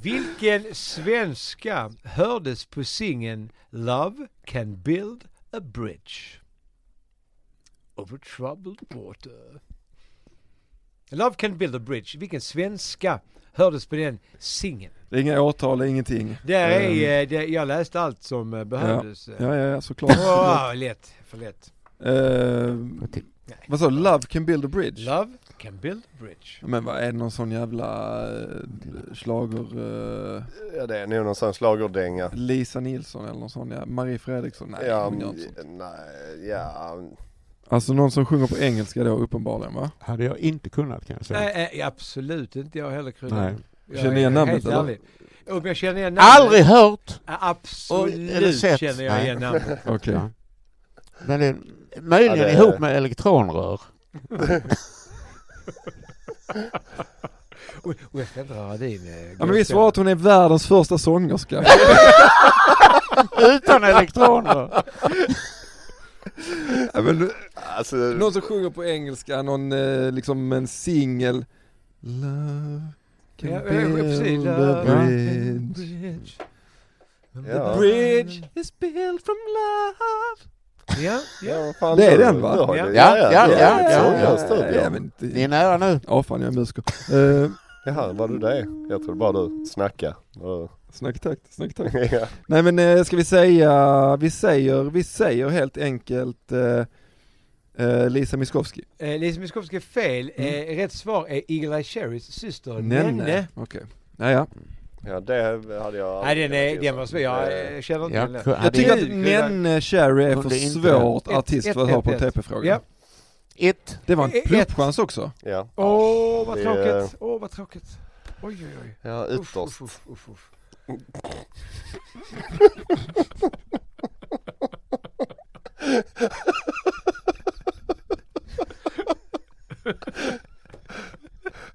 Vilken svenska hördes på singeln Love can build a bridge over troubled water? Love can build a bridge. Vilken svenska hördes på den singeln?
Det är inga åtal, det är ingenting.
Där är,
Ehm,
eh, det, jag läste allt som eh, behövdes. eh.
Ja, ja, ja, såklart. såklart.
Wow, lätt, för lätt.
Ehm, vad sa du? Love can build a bridge?
Love can build a bridge.
Men vad är det någon sån jävla eh, schlager... eh,
Ja, det är nog någon sån schlagerdänga.
Lisa Nilsson eller någon sån, ja. Marie Fredriksson, nej
ja,
hon gör inte sånt.
nej, ja.
Alltså någon som sjunger på engelska då uppenbarligen va?
Hade jag inte kunnat kan jag säga.
Nej, eh, absolut inte jag heller
Nej.
Kryddan. Jag
Känner ni igen
är
namnet,
helt
eller?
ärlig. Om jag känner igen namnet?
Aldrig hört!
Ja,
Och- eller
Absolut
sett.
känner jag igen namnet.
Okej.
Ja. Men det, möjligen
Ja, det-
ihop med elektronrör.
Och, och jag ska inte röra din... eh,
Ja men vi
gåsfälla.
svarar att hon är världens första sångerska.
Utan elektroner!
ja, men,
Alltså,
någon som sjunger på engelska, någon eh, liksom en singel. Love can
Ja, ja, precis.
build a
Love
bridge.
Bridge.
Ja.
Bridge is built from love.
Ja,
ja,
ja.
vad fan,
Det är
du-
den, va?
du har ju-
Ja, ja,
du har ju
ja,
sån
ja,
här studio.
ja, men det-
Ni är nära nu.
Åh fan jag är musiker. Uh,
Jaha, var du det? Jag trodde bara du snackade. Ja.
Snacktakt, snacktakt. Nej men eh, ska vi säga, vi säger, vi säger helt enkelt eh, eh, Lisa Miskovsky.
Eh, Lisa Miskovsky är fel. Eh, rätt svar är Eagle-Eye Cherrys syster Nenne.
Nenne. Okej. Ja, ja.
ja, det hade jag...
Nej, den, är, den var svår. Jag
Eh,
eh, känner inte
Jag,
den.
hade
Jag tycker
det-
att Nenne Cherry är för
Kunde inte.
svårt
Ett-
artist
ett-
för att ha
ett-
på en
ett.
TP-fråga.
Ja.
ett.
Det var en
Ett-
pluppchans också.
Ja,
Åh, oh, vad
Det-
tråkigt. Åh, vad tråkigt. Oj, oj, oj.
ja
Uff,
ytterst.
uff, uff, uff, uff.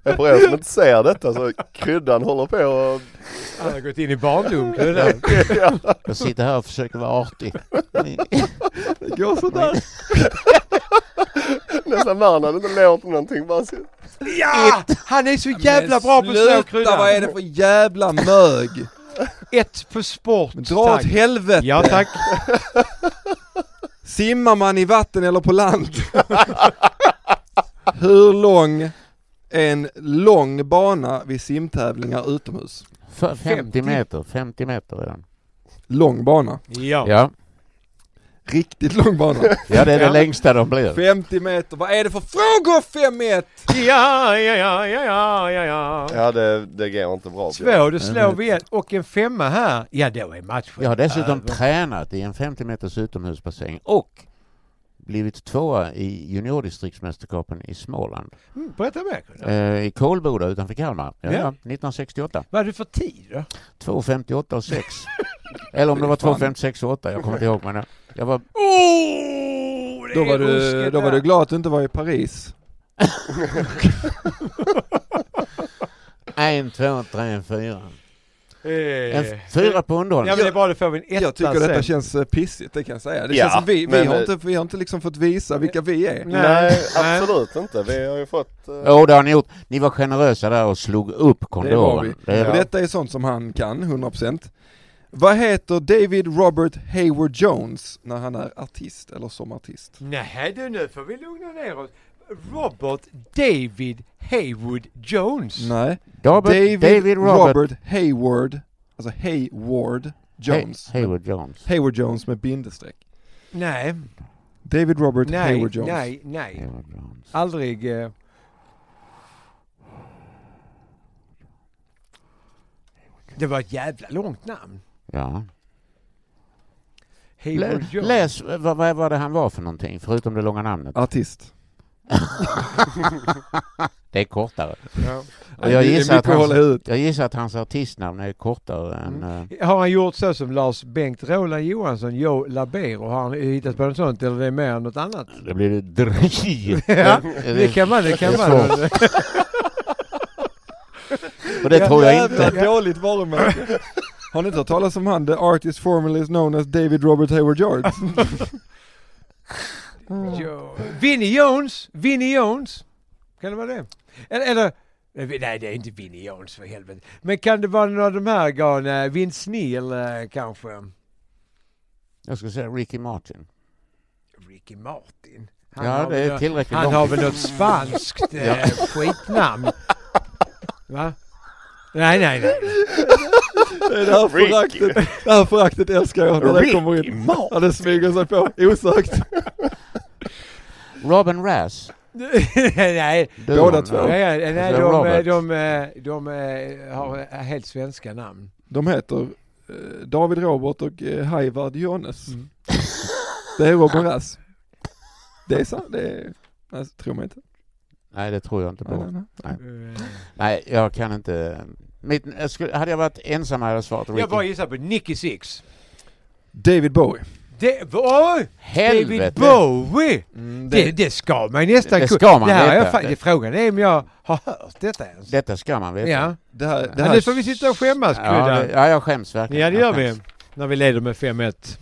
Men för er som inte ser detta så kryddan håller på och...
Han har gått in i barndom, Kryddan.
Jag sitter här och försöker vara artig.
Det går sådär.
Nästan värre när det inte låter någonting. Bara så...
Ja! Han är så jävla bra på
sluta,
slå,
vad är
Kryddan.
det för jävla mög?
Ett på sport,
Men Dra åt
tack.
helvete.
Ja, tack.
Simmar man i vatten eller på land? Hur lång är en lång bana vid simtävlingar utomhus?
För 50
50.
meter, 50 meter är den.
Lång bana.
Ja.
Ja,
Riktigt lång bana.
ja det är
Ja.
det längsta de blir.
50 meter. Vad är det för frågor 5-1?
Ja, ja, ja, ja, ja, ja, ja.
Ja, det, det går inte bra. Björn.
Två, då slår vi en och en femma här. Ja, då är matchen
Jag har dessutom
över.
tränat i en 50 meters utomhusbassäng och blivit tvåa i juniordistriktsmästerskapen i Småland.
Mm, Berätta mer. Kryddan.
Eh, I Kolboda utanför Kalmar. Ja,
Ja.
ja, 1968.
Vad är du för tid då?
2.58 och 6. Eller om det var 2.56 och 8, jag kommer inte ihåg. Men jag- jag var...
Oh, det
Då
är
var, du,
ruskigt
då var
där.
du glad att du inte var i Paris.
En, två, tre, fyra. En
Eh,
f- fyra på
Ja, men
underhållning.
det är bara då får vi en etta
Jag tycker detta
sen.
känns eh, pissigt, det kan jag säga. Det
Ja,
känns som vi, vi,
men,
har
eh,
inte, vi har inte liksom fått visa vilka vi är.
Nej, absolut inte. Vi har ju fått... eh,
Jo, det har ni gjort. Ni var generösa där och slog upp
Det var vi.
kondomen. Det
Och
är
detta är sånt som han kan, 100%. Vad heter David Robert Hayward Jones när han är artist eller som artist?
Nej du, nu får vi lugna ner oss. Robert David Haywood Jones.
Nej.
Robert,
David,
David,
Robert.
Robert,
Hayward, alltså Hayward Jones.
Hey, Hayward Jones.
Hayward Jones med bindestreck.
Nej,
David Robert
nej,
Hayward Jones.
nej, nej.
Hayward Jones.
Aldrig. Eh, Det var ett jävla långt namn.
Ja.
Hayward
Lä,
Jones.
läs eh, vad, vad var det han var för någonting, förutom det långa namnet.
Artist.
Det är kortare.
Ja.
Och jag,
Det är
gissar att
mycket att hålla
hans,
ut.
jag gissar att hans artistnamn är kortare än... eh,
Har han gjort så som Lars Bengt Roland Johansson, Joe Labero? Har han hittat på något sånt eller är det mer än något annat?
Det blir det dri.
Ja, det kan man, det kan
det är
man.
svårt. Och det tror jag inte.
Jävla dåligt varumärke. Har ni inte hört talas om han, the artist formerly known as David Robert Hayward George?
Jo- Vinnie Jones, Vinnie Jones. Kan det vara det? Eller, eller eh, nej det är inte Vinnie Jones för helvete. Men kan det vara någon av de här galna, Vince Neil eh, kanske?
Jag skulle säga Ricky Martin.
Ricky Martin. Han
Ja,
har
det
väl
är
nå-
tillräckligt
han
långt.
har väl något spanskt eh,
Ja.
skitnamn? Va? Nej, nej, nej.
Det är det här föraktet, det här föraktet älskar jag när det kommer in. Ja, det smyger sig på osökt.
Robin Rass.
nej.
Du,
Båda
hon,
två.
ja.
Nej, nej, nej,
Det är
de, eh,
Robert.
de, eh, de, eh, har eh, helt svenska namn.
De heter eh, David Robert och eh, Hayward Jones. Det är Robin Rass. Det är sant, det är... Nej, så tror man inte.
Nej, det tror jag inte
Nej, nej,
på.
nej.
Eh,
Nej, jag kan inte. Mitt, jag skulle, hade jag varit ensam hade jag svarat
Jag bara
Ricky.
gissar på Nicky Six.
David Bowie.
Det, oj! David
Helvete!
Bowie!
Mm,
Det, det ska man ju nästan
Det
kunna.
ska man
det här har
veta.
Jag, fan- det, frågan är om jag har hört detta ens.
Detta ska man veta.
ja.
det här, det
Men
här,
nu får vi sitta och skämmas
Ja, det,
Kryddan.
ja, jag skäms verkligen.
Ja det
Jag
gör vi.
skäms.
När vi leder med 5-1.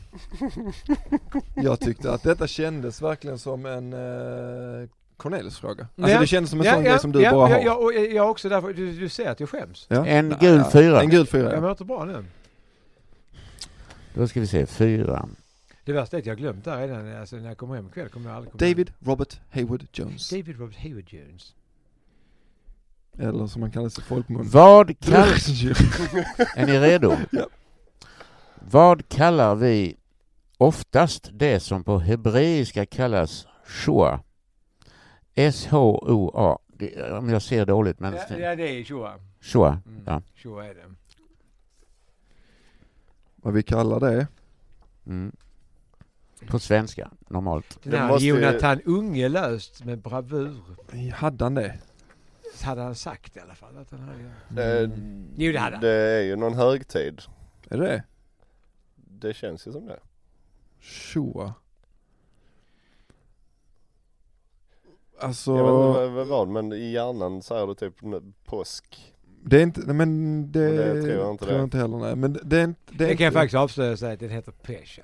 Jag tyckte att detta kändes verkligen som en eh, Cornelis-fråga. Alltså
Ja.
det kändes som en
Ja,
sån
ja,
grej som du
ja,
bara
ja,
har.
ja, och jag också därför, du, du ser att jag skäms.
Ja.
En
Nej,
gul
ja.
fyra.
En gul fyra,
Jag
ja.
mår inte bra nu.
Då ska vi se, fyra.
Det värsta är att jag har glömt det här redan. Alltså, när jag kommer hem ikväll kommer jag aldrig komma
David Robert Hayward Jones.
Ihåg. David Robert Hayward Jones.
Eller som han kallas i folkmun.
Vad kallar... Är ni redo?
Ja.
Vad kallar vi oftast det som på hebreiska kallas shoa? S-H-O-A. Det- Om jag ser dåligt, men...
Ja, ja det är Shoa.
Shoa.
Mm.
Ja.
Shoa är det.
Vad vi kallar det.
Mm. På svenska, normalt.
Den
Det
här
måste ju-
Jonathan Unge löst med bravur.
Hade han det?
Hade han sagt i alla fall att han hade
Eh,
Jo det hade han.
Det är ju någon högtid.
Är det
Det känns ju som det.
Shoa. Alltså,
Jag vet inte vad- vad, vad men i hjärnan säger du typ n- påsk.
det är inte, nej, men det,
Men det tror jag inte det.
heller nej. Men det är inte, det är
Det kan jag
inte,
faktiskt avslöja och säga att den heter Pesha.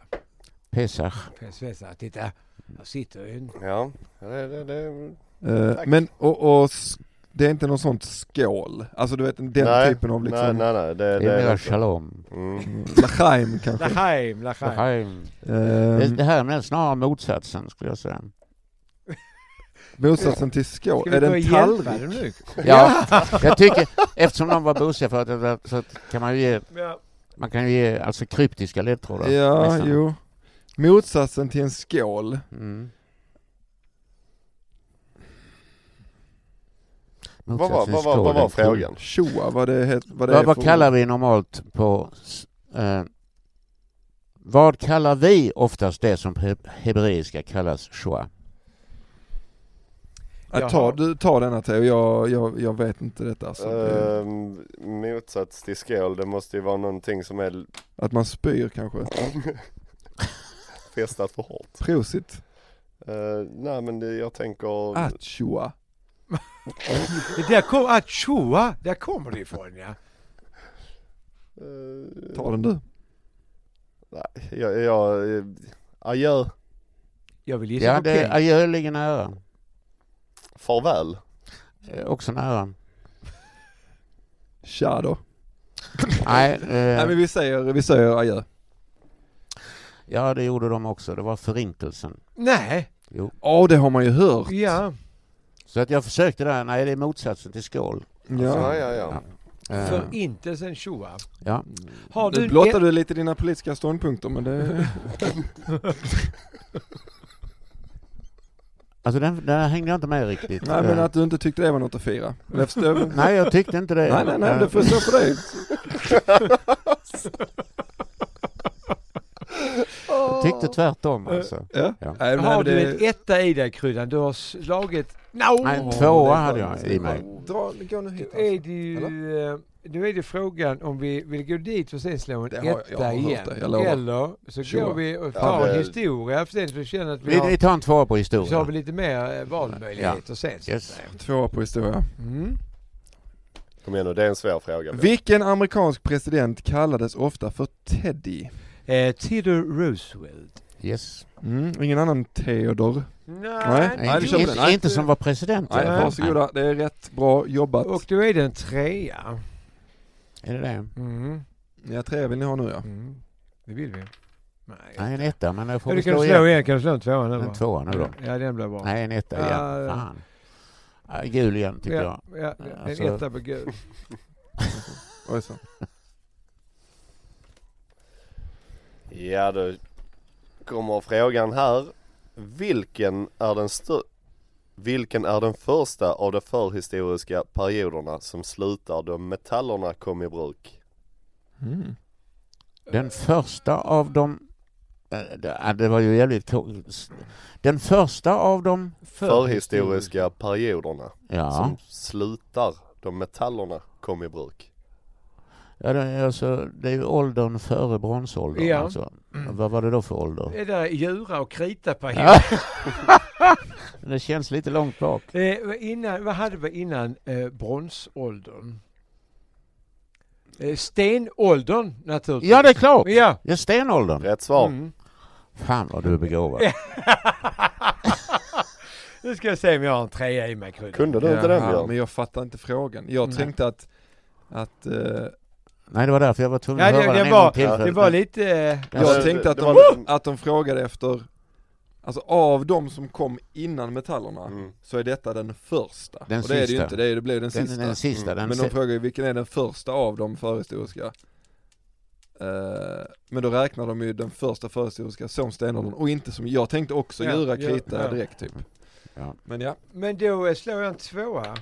Pesach.
Pesha, titta.
Mm.
Här sitter ju en...
Ja, det, det, det.
eh,
Tack.
men och, och s- det är inte någon sånt skål. Alltså du vet den
nej,
typen av
nej,
liksom.
nej, nej, det,
Det
det
är
är
mera
inte.
shalom.
Mm.
Lachaim kanske.
Lachaim, Lachaim.
Lachaim. Det
Ehm,
det här är mer snarare motsatsen, skulle jag säga.
motsatsen till skål.
Ska
Är
vi
det
börja
en
hjälpa
tallrik?
dem nu?
Ja, jag tycker, eftersom de var busiga förut så kan man ju ge,
Ja.
man kan ju ge alltså kryptiska ledtrådar.
Ja,
nästan.
jo. Motsatsen till en skål.
Mm.
Vad var, vad, var, vad var frågan?
Shoa, vad det, het, vad det
Vad,
är
vad
för-
kallar vi normalt på... s- Eh, vad kallar vi oftast det som på he- hebreiska kallas shoa?
Ja, ta, du, ta denna Theo, jag, jag, jag vet inte detta alltså. Det-
Ehm, motsats till skål, det måste ju vara någonting som är
Att man spyr kanske.
festat för hårt.
Prosit.
Eh, nej men det, jag tänker...
Atchoa.
Det där kom, att tjoa, där kommer det ifrån ja.
eh,
Ta den du.
nej, jag, jag, eh, adjö,
Jag vill gissa
Ja,
på
det,
Peng.
adjö ligger nära.
farväl.
Eh, Också nära.
Tja då.
Nej,
Nej
eh,
men vi säger, vi säger adjö.
ja det gjorde de också. Det var förintelsen.
Nej,
Åh det har man ju hört.
ja.
Så att jag försökte där, nej det är motsatsen till skål.
Ja,
Ja.
ja, ja.
Eh,
Förintelsen tjoa.
ja.
Har du
Nu
en-
blottar du lite dina politiska ståndpunkter men det...
Alltså den, den hängde jag inte med riktigt.
Nej men
Eh,
att du inte tyckte det var något att fira. Jag förstår.
nej jag tyckte inte det.
Nej nej nej,
Eh,
det får stå för dig.
Jag tyckte tvärtom alltså.
Ja. Eh,
Ja.
Nej, men
har
det-
du en etta i dig Kryddan? Du har slagit... No!
Nej,
Åh,
tvåa
det är
hade
fan-
jag i mig.
Dra, gå nu hit
Då är
alltså.
det ju... eh, Nu är det frågan om vi vill gå dit och sen slå en
Det har jag- jag
etta
har hört
igen.
det, jag lovar.
Eller så
Sure.
går vi och tar
Ja, det-
en historia för sen så känner att vi
Vi,
har,
vi tar en tvåa på
så har vi
historia.
lite mer eh, valmöjligheter sen. så att
Yes.
säga.
Tvåa på historia.
Mm.
Kom igen nu, det är en svår fråga.
Vilken amerikansk president kallades ofta för Teddy?
Eh, Theodore Roosevelt.
Yes.
Mm, ingen annan Theodor. Nej,
Nej,
du
inte,
köper den. Nej.
inte som var president. i
Nej,
alla fall.
varsågoda. Det är rätt bra jobbat.
Och då är det en trea.
Nej. Är det det?
Mm.
Ja, tre vill ni ha nu ja.
Mm. Det vill vi. Nej.
Nej, en etta, men jag får
Ja, du
vi
kan du
slå
slå
igen.
igen. Kan du slå en tvåa nu?
En
va?
tvåa nu då.
Ja, den blir bra.
Nej, en etta
Ja,
igen.
ja.
Fan. Ja, Gul igen tycker jag.
ja, ja, en
Alltså-
etta på gul.
Oj, så.
Ja, då kommer frågan här. Vilken är den stö- Vilken är den första av de förhistoriska perioderna som slutar då metallerna kom i bruk?
Mm.
Den första av dem... eh, det- ah, Det var ju jävligt ko- s- Den första av dem...
Förhistoriska perioderna
Ja,
som slutar då metallerna kom i bruk.
ja det, är alltså, det är ju åldern före bronsåldern.
Ja. Eh.
Alltså. Vad var det då för ålder?
Det där är Jura och krita på
Ja. Det känns lite långt bak.
Eh, vad innan, vad hade vi innan eh, bronsåldern? Eh, stenåldern naturligtvis.
Ja, det är klart!
Ja.
Ja, stenåldern.
Rätt svar.
Mm.
Fan vad du är begåvad.
nu ska jag se om jag har en trea i mig krydda.
Kunde du inte den
Jaha, men
Björn?
jag fattar inte frågan. Jag
Nej.
tänkte att, att eh,
Nej, det var därför jag var tvungen
Ja,
att
det-
höra
det
den en
var-
gång till.
ja,
för-
Det var lite... Eh,
Jag
jag
det-
tänkte att,
det
de,
var-
att de frågade efter, alltså av de som kom innan metallerna
Mm.
så är detta den första.
Den
och det är det ju
sista.
inte, det, är, det blev den,
den,
sista.
den sista. Den
men de
se-
frågar ju vilken är den första av de förhistoriska? Eh, men då räknar de ju den första förhistoriska som stenåldern och inte som, jag tänkte också
Ja,
jura,
ja,
krita
ja.
direkt typ.
Ja.
Men ja,
men då eh, slår jag en tvåa.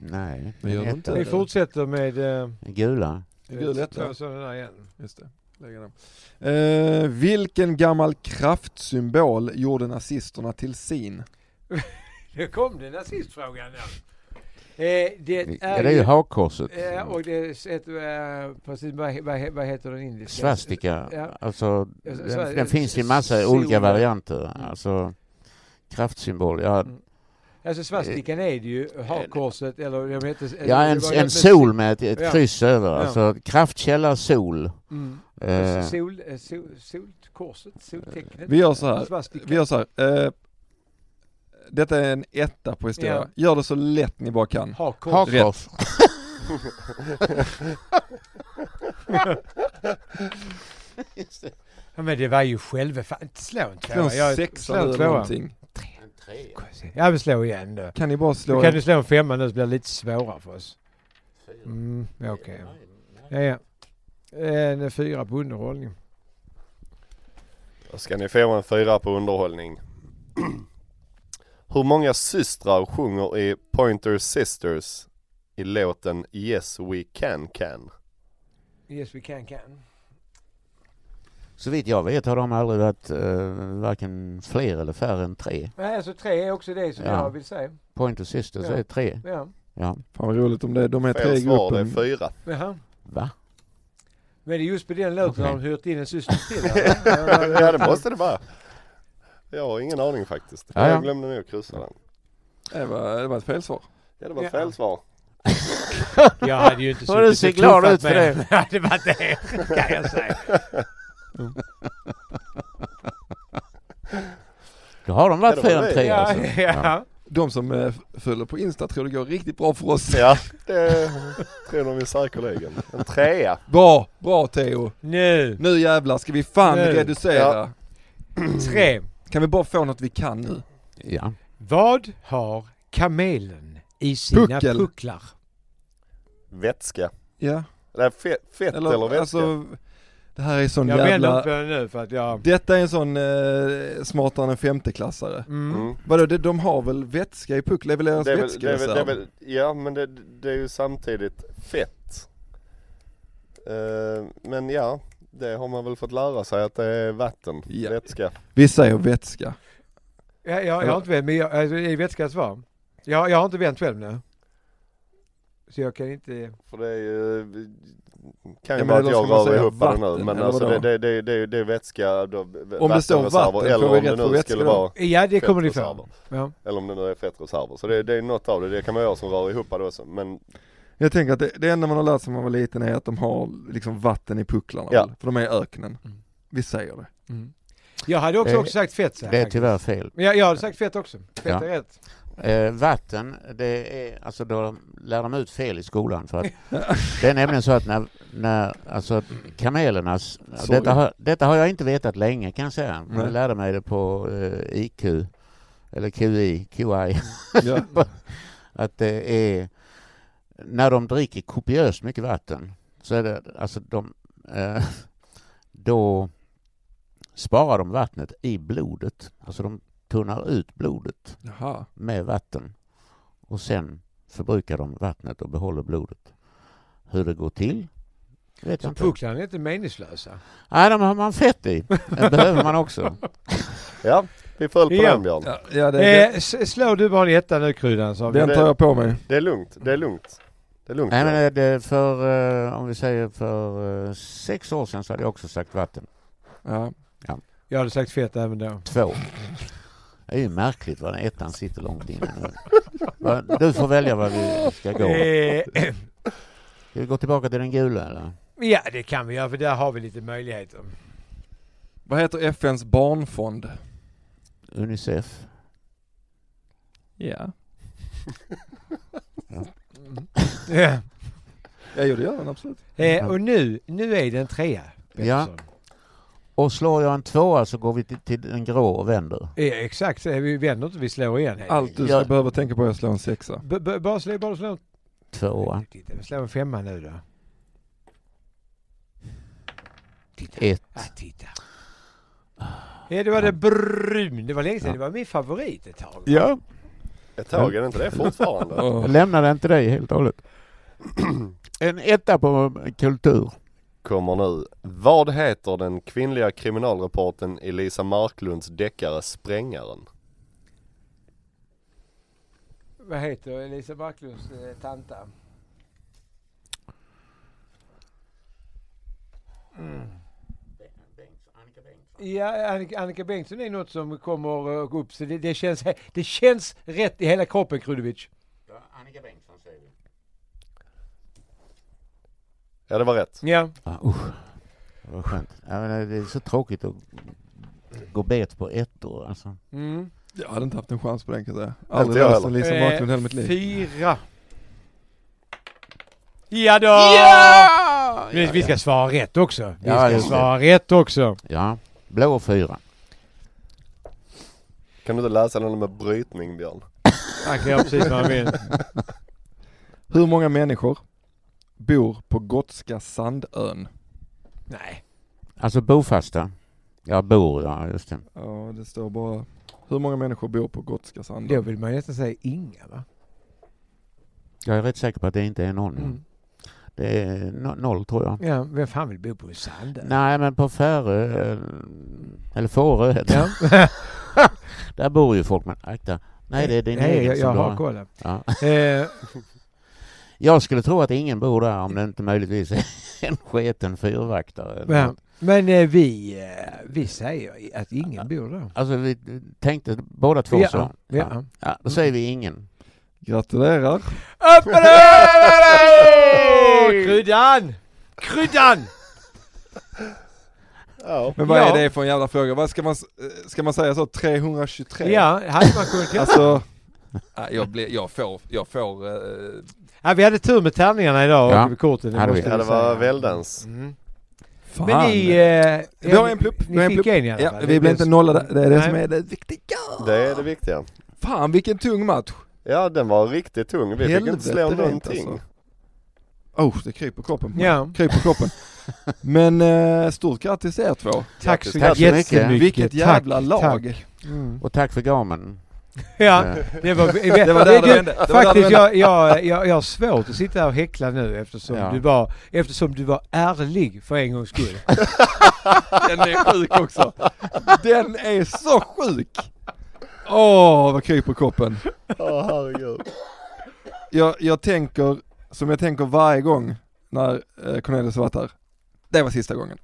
Nej,
Men gör
en
du inte
etta.
Vi fortsätter med eh,
Gula.
gul
eh,
etta.
två sådana där igen.
Just det. Lägga dem. Eh, vilken gammal kraftsymbol gjorde nazisterna till sin?
Nu kom det nazistfrågan. Ja. Eh, det är,
Ja, det är ju hakkorset.
Eh, och det heter, eh, precis, vad, vad, vad heter den indiska?
Mm.
Eh,
Svastika,
Ja.
alltså
Ja, så-
den,
så-
den finns i massa
sol-
olika varianter. Alltså kraftsymbol, ja,
Mm. Alltså svastikan är det ju, hakkorset eller de heter...
Eh, ja en,
det var-
en sol med ett, ett
Ja.
kryss över.
Ja.
Alltså kraftkälla sol.
Mm.
Eh,
Sol, eh, sol, solkorset, soltecknet.
Vi gör så här.
Svastika.
Vi gör så här. Eh, detta är en etta på historia.
Ja.
Gör det så lätt ni bara kan.
Hakkors.
hakkors.
Ja, men det var ju själva... Fan, slå en
Slå
tvåa.
en
Jag-
sexa
slå en
eller
tvåa.
någonting.
Ja men slå igen då.
Kan ni bara slå
Då kan
en
du slå en femma nu så blir det lite svårare för oss. Mm, ja, okej. Ja, ja. En fyra på underhållning.
Då ska ni få en fyra på underhållning. Hur många systrar sjunger i Pointer Sisters i låten Yes We Can Can?
Yes we can can.
Så vitt jag vet har de aldrig varit eh, varken fler eller färre än tre.
Nej alltså tre är också det som
Ja.
jag vill säga.
Pointer Sisters
Ja.
är tre.
Ja.
Ja,
Fan vad roligt om det. De är tre
Fel
i
svar, det är
gruppen.
fyra.
Jaha.
va?
Men det är just på den låten
Okej.
har de hyrt in en syster till. här.
Ja det måste det vara. Jag har ingen aning faktiskt.
Ja, ja.
Jag glömde nog kryssa den.
Det var, det var ett felsvar.
Ja det var
Ja.
fel svar.
Jag hade ju inte
Har du
suttit
ser
och
glad
knuffat
ut för
med-
det.
Ja, det var det kan jag säga.
Då har de
Ja, det
varit
var
fler än
det.
tre
Ja,
alltså.
ja.
De som eh, följer på Insta tror det går riktigt bra för oss.
Ja det tror de ju säkerligen. En trea.
Bra, bra Theo.
Nu,
Nu jävlar ska vi fan
Nu.
reducera.
Ja.
tre.
Kan vi bara få något vi kan nu?
Ja.
Vad har kamelen i sina
Puckel.
pucklar?
Vätska.
Ja,
Nej fett, fett eller, vätska.
alltså det här är sån
Jag vänder
jävla
på den nu för att jag...
Detta är en sån eh, smartare än femteklassare.
Mm.
Mm.
Vadå, de, de har väl vätska i puck? Det är väl deras
Det är väl, det är väl, det är
vätskereserv?
väl, ja men det, det är ju samtidigt fett. Eh, men ja, det har man väl fått lära sig att det är vatten,
Ja.
vätska.
Vi säger vätska.
Jag, jag, jag har inte vänt, men jag, alltså, det är vätskans svar. Jag, jag har inte vänt själv nu. Så jag kan inte...
För det är ju,
Ja,
kan ju
men
vara
eller
att jag
ska man
rör
säga
ihop det nu
vatten,
men
eller
alltså det,
vadå?
det, det, det, det är vätska, då,
står
vattenreserver,
vatten
eller
får vi
om det
rätt för
nu
vätska
skulle
då.
vara
Ja, det kommer ni
fettreserver.
få. Ja.
Eller om det nu är fettreserver. Så det, det är något av det, det kan man göra som rör ihop det också. Men
Jag tänker att det, det enda man har lärt sig när man var liten är att de har liksom vatten i pucklarna.
Ja.
väl? För de är i öknen.
Mm.
Vi säger det.
Mm. Jag hade också,
Det-
också sagt fett så här,
Det är
faktiskt.
tyvärr fel.
Men jag, jag hade sagt fett också. Fett
Ja.
är rätt.
Eh, vatten, det är, alltså då lär de ut fel i skolan. För att, det är nämligen så att när, när alltså kamelernas,
Sorry.
detta har, detta har jag inte vetat länge kan jag säga. Men
Nej.
Jag lärde mig det på eh, IQ, eller QI, QI,
Ja.
att det är, när de dricker kopiöst mycket vatten så är det, alltså de, eh, då sparar de vattnet i blodet. Alltså de tunnar ut blodet
Jaha.
med vatten och sen förbrukar de vattnet och behåller blodet. Hur det går till vet jag
Så
inte.
pucklarna är inte meningslösa.
Nej, de har man fett i. Det behöver man också.
ja, vi föll på
Ja.
den Björn.
Ja, ja det,
Eh, s- slår du bara en etta nu Kryddan så har vi-
den tar jag på mig.
Det är lugnt, det är lugnt. Det är lugnt.
Nej, men
Björn.
är det för, eh, om vi säger för eh, sex år sedan så hade jag också sagt vatten.
Ja.
Jag hade sagt fett även då.
Två. Det är ju märkligt vad den ettan sitter långt inne nu. Va, Du får välja vad vi ska gå.
Eh,
Ska vi gå tillbaka till den gula eller?
ja, det kan vi göra för där har vi lite möjligheter.
Vad heter FNs barnfond?
Unicef?
Ja.
Mm. Ja.
Ja, jo, det gör den absolut.
Eh, och nu, nu är det en trea.
Ja.
Pettersson.
Och slår jag en tvåa så går vi till, till den grå och vänder.
Eh, exakt, så är vi vänder inte, vi slår igen. helt
Allt du
Ja.
ska behöva tänka på är att slå en sexa.
B- b- bara slå, bara slå.
Tvåa.
Titta, slå en femma nu då.
Ett.
Ah, titta. Ja, det var det brun. Det var länge sedan. Det var min favorit ett tag.
Ja.
Ett tag är det inte det fortfarande.
Jag
Åh.
lämnade inte dig helt och hållet. En etta på kultur.
Kommer nu. Vad heter den kvinnliga kriminalreporten Elisa Marklunds deckare Sprängaren?
Vad heter Elisa Backlunds eh, tanta? Mm. Ja, Annika, Annika Bengtsson är något som kommer eh, upp. Så det, det, känns, det känns rätt i hela kroppen, Krudovic.
Annika Bengtsson säger vi.
Ja det var rätt.
Ja.
Ah, usch. Det var skönt. Ja, men eh, det är så tråkigt att gå bet på ettor. Alltså.
Mm.
Jag hade inte haft en chans på den kan jag säga.
Inte
Aldrig
jag
läst en Lisa
heller.
Eh,
Marklund i hela mitt liv.
Fyra. Ja då! Vi, vi ska svara rätt också. Vi
Ja,
ska
just det.
svara rätt också.
Ja, blå fyra.
Kan du inte läsa den med brytning Björn?
Han kan göra precis vad han vill.
Hur många människor bor på Gotska Sandön?
Nej.
Alltså bofasta. Ja, bor, ja just det.
Ja, det står bara hur många människor bor på Gotska
Då
Sandön?
vill man nästan säga inga va?
Jag är rätt säker på att det inte är någon.
Mm.
Det är no noll tror jag.
Ja, vem fan vill bo på sanden?
Nej, men på Färö, eh, eller Fårö heter det.
Ja.
Där bor ju folk, men akta. Nej, det är din
Nej,
egen
jag,
som
jag
du
har kollat.
Ja.
Eh,
Jag skulle tro att ingen bor där om det inte möjligtvis är en sketen fyrvaktare. eller
ja.
något.
Men eh, vi, eh, vi säger att ingen bor där.
Alltså vi tänkte båda två
ja,
så.
Ja.
Ja, då säger vi ingen.
Gratulerar!
Upp med dig! Kryddan! Kryddan!
Ja.
Men vad
Ja.
är det för en jävla fråga? Vad ska man, s- eh, ska man säga så 323?
Ja, hade man kunnat göra.
Alltså, nej, jag, blir, jag får, jag får, eh,
Ja, vi hade tur med tärningarna idag
Ja,
och korten.
hade vi.
Ja
vi
det
säga.
var väldans.
Mm.
fan.
Men ni... Eh,
Vi har en plupp, vi
Ni
har en
fick
plupp.
en i alla
ja,
fall.
vi blir inte nollade, det är det
Nej.
som är det viktiga.
Det är det viktiga.
Fan vilken tung match.
Ja den var riktigt tung. Vi fick inte slå
rent
någonting.
alltså. Oh, det kryper kroppen på mig.
Ja,
Kryper kroppen. Men eh, stort grattis er två.
tack
Tack
så
så mycket.
jättemycket.
Vilket jävla
Tack,
lag.
tack. Mm.
Och tack för gamen.
Ja,
Eh,
det var,
Det var där det vände. Det var där det
Faktiskt,
vände.
jag, jag, jag, jag har svårt att sitta här och häckla nu eftersom,
Ja.
du var, eftersom du var ärlig för en gångs skull.
Den är sjuk också. Den är så sjuk! Åh, vad kryper koppen.
Åh herregud.
Jag, jag tänker, som jag tänker varje gång när eh, Cornelius har varit här. Det var sista gången.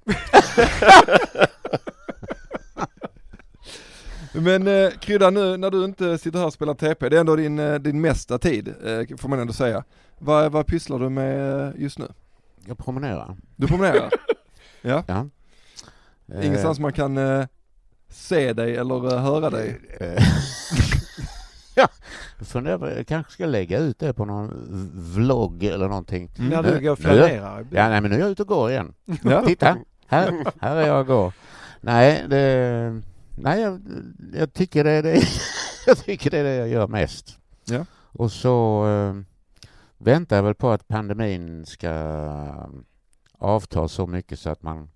Men eh, Krydda, nu när du inte sitter här och spelar TP, det är ändå din, eh, din mesta tid, eh, får man ändå säga. Vad, vad pysslar du med eh, just nu?
Jag promenerar.
Du promenerar?
Ja. Eh,
Ingenstans man kan eh, se dig eller eh, höra dig?
eh, ja. Jag funderar på- Jag kanske ska lägga ut det på någon vlogg eller någonting.
När du
Mm.
går och flanerar.
Ja, nej, men nu är jag ute och går igen.
Ja.
Titta, här, här är jag och går. Nej, det, nej jag, jag, tycker det är det, jag tycker det är det jag gör mest.
Ja.
Och så eh, väntar jag väl på att pandemin ska avta så mycket så att man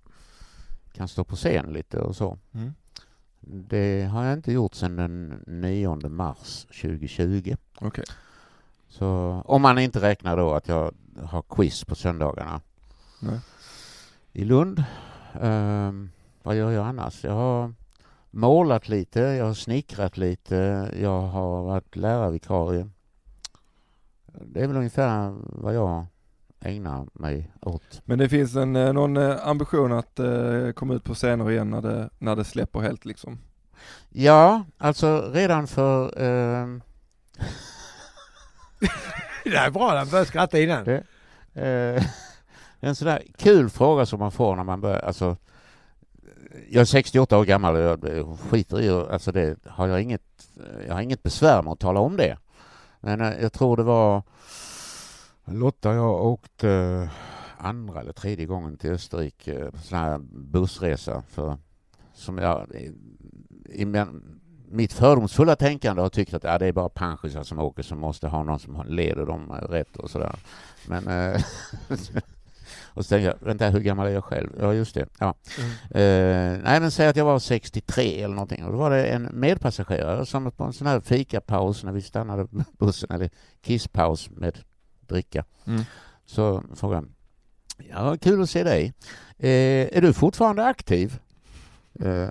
kan stå på scen lite och så.
Mm.
Det har jag inte gjort sedan den 9 mars 2020.
Okej.
Så, om man inte räknar då att jag har quiz på söndagarna
Nej.
i Lund. Ehm, vad gör jag annars? Jag har målat lite, jag har snickrat lite, jag har varit lärarvikarie. Det är väl ungefär vad jag ägnar mig åt.
Men det finns en, eh, någon eh, ambition att eh, komma ut på scener igen när det, när det släpper helt liksom?
Ja, alltså redan för ehm,
Det är bra, han började skratta innan.
Eh, en sån där kul fråga som man får när man börjar, alltså jag är 68 år gammal och jag skiter i och- alltså det har jag inget, jag har inget besvär med att tala om det. Men eh, jag tror det var Lotta och jag åkte andra eller tredje gången till Österrike eh, på sån här bussresa för som jag i, i men- mitt fördomsfulla tänkande har tyckt att ja, det är bara pensionärer som åker som måste ha någon som leder dem eh, rätt och sådär. Men... Eh, och så tänkte jag, vänta, hur gammal är jag själv? Ja, just det. Ja.
Mm.
Eh, nej, men säg att jag var 63 eller någonting. Och då var det en medpassagerare som på en sån här fikapaus när vi stannade på bussen, eller kisspaus med dricka,
Mm.
så frågade han, ja, kul att se dig. Eh, är du fortfarande aktiv? Eh,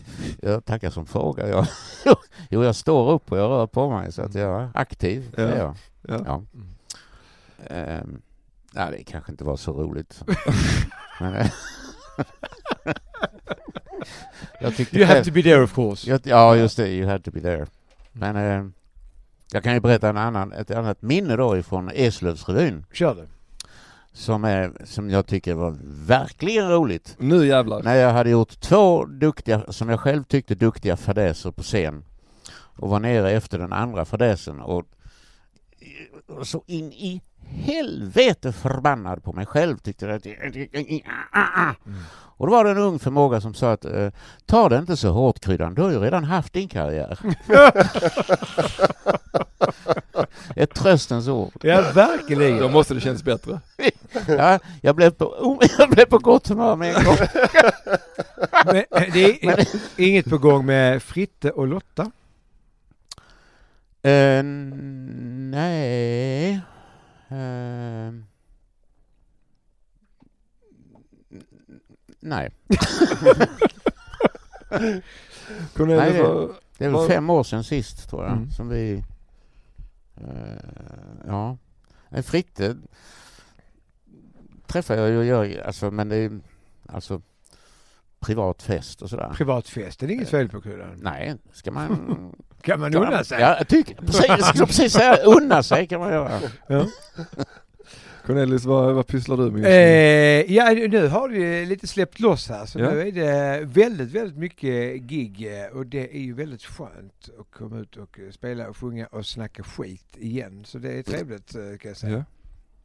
jag tackar som fråga. Jag, jo, jag står upp och jag rör på mig så att jag är aktiv. det är
Ja.
jag.
Ja. Mm.
Ja. Ehm, nej, det kanske inte var så roligt. Men, eh, jag tyckte
You have
själv,
to be there of course.
jag, ja, just det, you had to be there. Men eh, jag kan ju berätta en annan, ett annat minne då ifrån Eslövsrevyn
Kör du.
som, är, som jag tycker var verkligen roligt.
Nu jävlar!
När jag hade gjort två duktiga, som jag själv tyckte duktiga fadäser på scen och var nere efter den andra fadäsen och, och så in i helvete förbannad på mig själv tyckte jag att ah, och då var det en ung förmåga som sa att eh, ta det inte så hårt kryddan, du har ju redan haft din karriär. Ett tröstens ord.
Ja,
Då
verkligen.
måste det känns bättre.
Ja, jag, blev på, jag blev på gott humör med en gång.
Men eh, det är inget på gång med Fritte och Lotta.
Eh, nej. Ehm. nej,
Cornelius
Nej, det-
har-
det är väl
Vad-
fem år sedan sist tror jag
Mm.
som vi... eh, ja. Nej, Fritte träffar jag ju och gör, alltså, men det är alltså privat fest och sådär.
Privatfest, det är inget fel på Kryddan.
Nej, ska man...
Kan man unna sig?
Ja, jag tycker, precis, jag skulle precis säga unna sig kan man göra.
Cornelius, vad, vad pysslar du med just nu?
Eh, ja, nu har det lite släppt loss här så
Ja.
nu är det väldigt, väldigt mycket gig eh, och det är ju väldigt skönt att komma ut och eh, spela och sjunga och snacka skit igen. Så det är trevligt eh, kan jag säga.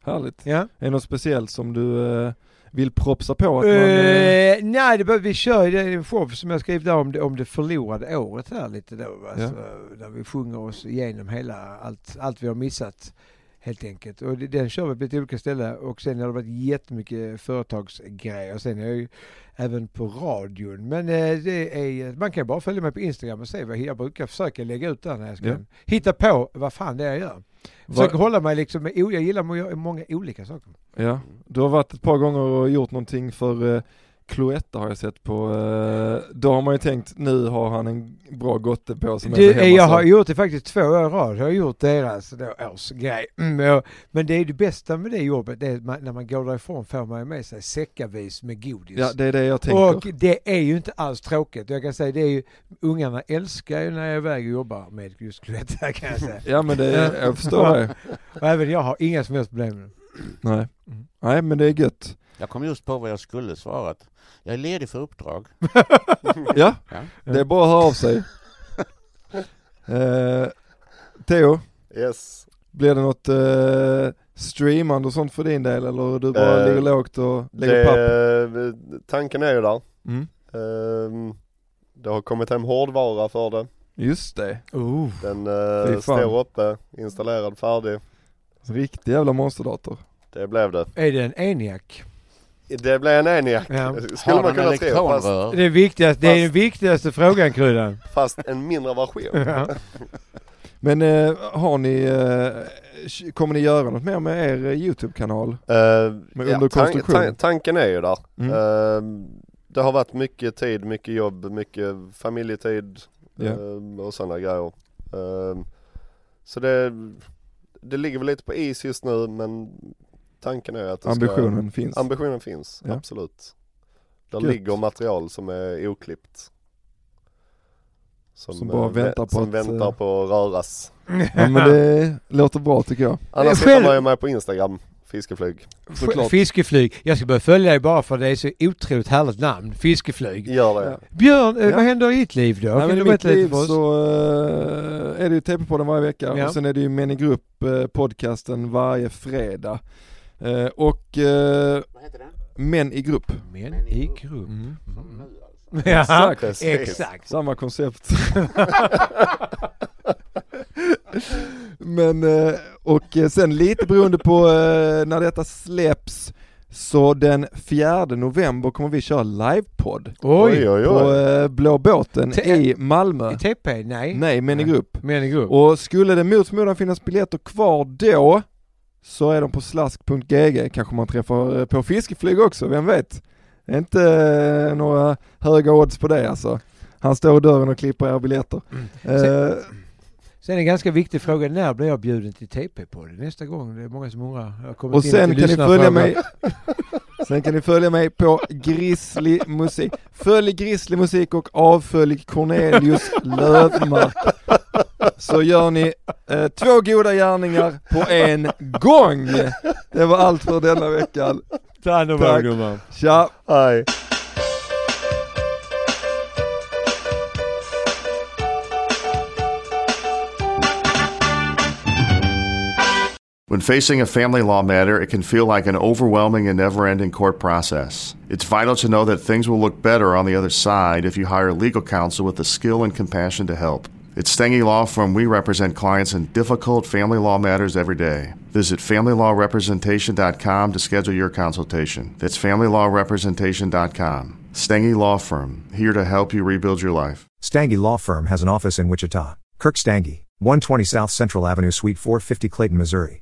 Ja. Härligt.
Ja.
Är det något speciellt som du eh, vill propsa på? Att man, eh,
Eh, nej, det, bör- vi kör ju det i en show som jag skrev där om det, om det förlorade året här lite då. Va? eh,
Ja.
Så, där vi sjunger oss igenom hela, allt, allt vi har missat. Helt enkelt. Och det- den kör vi på lite olika ställen och sen har det varit jättemycket företagsgrejer. Sen är jag ju även på radion. Men eh, det är, man kan bara följa mig på Instagram och se vad jag brukar försöka lägga ut där när jag ska
Ja.
hitta på vad fan det är jag gör. Försöker
Vad-
hålla mig liksom, med- jag gillar att göra många olika saker.
Ja, du har varit ett par gånger och gjort någonting för eh, Cloetta har jag sett på, eh, då har man ju tänkt nu har han en bra gotte på som
Du,
är hemma
jag har gjort det faktiskt två år i rad. Jag har gjort deras då, årsgrej. Mm, jag- Men det är det bästa med det jobbet, det är att man, när man går därifrån får man ju med sig säckavis med godis.
Ja det är det jag tänker.
Och det är ju inte alls tråkigt. Jag kan säga det är ju, ungarna älskar ju när jag är iväg och jobbar med just Cloetta kan jag säga.
Ja men det, jag förstår det.
Och även jag har inga som helst problem med det.
Nej.
Mm.
Nej men det är gött.
Jag kom just på vad jag skulle svarat. Jag är ledig för uppdrag.
Ja,
Ja.
det är bara att höra av sig. Eh, Theo,
Yes.
blir det något eh, streamande och sånt för din del eller du bara
Eh,
ligger lågt och lägger papp?
Det, eh, tanken är ju där.
Mm.
Ehm, Det har kommit hem hårdvara för det.
Just det,
Oh.
Den
Fy
eh,
fan.
står uppe, installerad, färdig.
riktig jävla monsterdator.
Det blev det.
Är det en eniac?
Det blev en Eniac.
Ja.
Skulle man kunna tro. Fast,
elektronrör?
Det, är viktigast, det är den viktigaste frågan Kryddan.
fast en mindre version.
Ja.
Men eh, har ni, eh, kommer ni göra något mer med er eh, YouTube-kanal?
Ehm,
Men under konstruktion.
tanken är ju där.
Mm.
Ehm, Det har varit mycket tid, mycket jobb, mycket familjetid
Ja.
ehm, och sådana grejer. Ehm, Så det, det ligger väl lite på is just nu men tanken är att det
Ambitionen finns.
Ska, ambitionen finns,
Ja.
absolut. Där
Gött.
ligger material som är oklippt.
Som bara
eh,
väntar på
som
att,
väntar
eh,
på att röras.
ja, men det låter bra tycker jag.
Annars
Själv-
hittar man ju mig på Instagram, fiskeflyg.
Såklart.
Fiskeflyg. Jag ska börja följa dig bara för det är så otroligt härligt namn. Fiskeflyg.
Gör det.
Ja.
Björn, eh,
Ja.
vad händer i ditt liv då?
Nej,
Kan
men
du
I mitt
berätta
liv
lite för oss?
så eh, är det ju TP-podden varje vecka
Ja.
och sen är det ju Men i grupp eh, podcasten varje fredag. Eh, och eh,
Vad heter den?
Män i grupp.
Men i grupp.
Mm. Som nu alltså.
Ja,
Mm. Exakt.
exakt. exakt.
Samma koncept. Men, eh, och eh, sen lite beroende på eh, när detta släpps, så den 4 november kommer vi köra livepodd
Oj!
oj,
på eh, Blå båten
Te-
i Malmö.
I TP? Nej.
Nej, men i grupp.
Men i grupp.
Och skulle det mot förmodan finnas biljetter kvar då, så är de på slask.gg, kanske man träffar eh, på fiskeflyg också, vem vet? Det är inte eh, några höga odds på det alltså. Han står i dörren och klipper era biljetter. Eh,
Sen en ganska viktig fråga. När blir jag bjuden till TP på det? Nästa gång? Det är många som undrar. Jag har kommit
och
in
sen
lite
kan ni
lyssnarfrågor.
följa mig Sen kan ni följa mig på Grizzly Musik. Följ Grizzly Musik och avfölj Cornelius Lövmark. Så gör ni eh, två goda gärningar på en gång. Det var allt för denna veckan.
Ta hand om
Tack.
er, gumman.
Tja!
Hej.
When facing a family law matter, it can feel like an overwhelming and never ending court process. It's vital to know that things will look better on the other side if you hire legal counsel with the skill and compassion to help. At Stengy Law Firm, we represent clients in difficult family law matters every day. Visit FamilyLawRepresentation.com to schedule your consultation. That's FamilyLawRepresentation.com. Stengy Law Firm, here to help you rebuild your life.
Stange Law Firm has an office in Wichita. Kirk Stange, 120 South Central Avenue, Suite 450, Clayton, Missouri.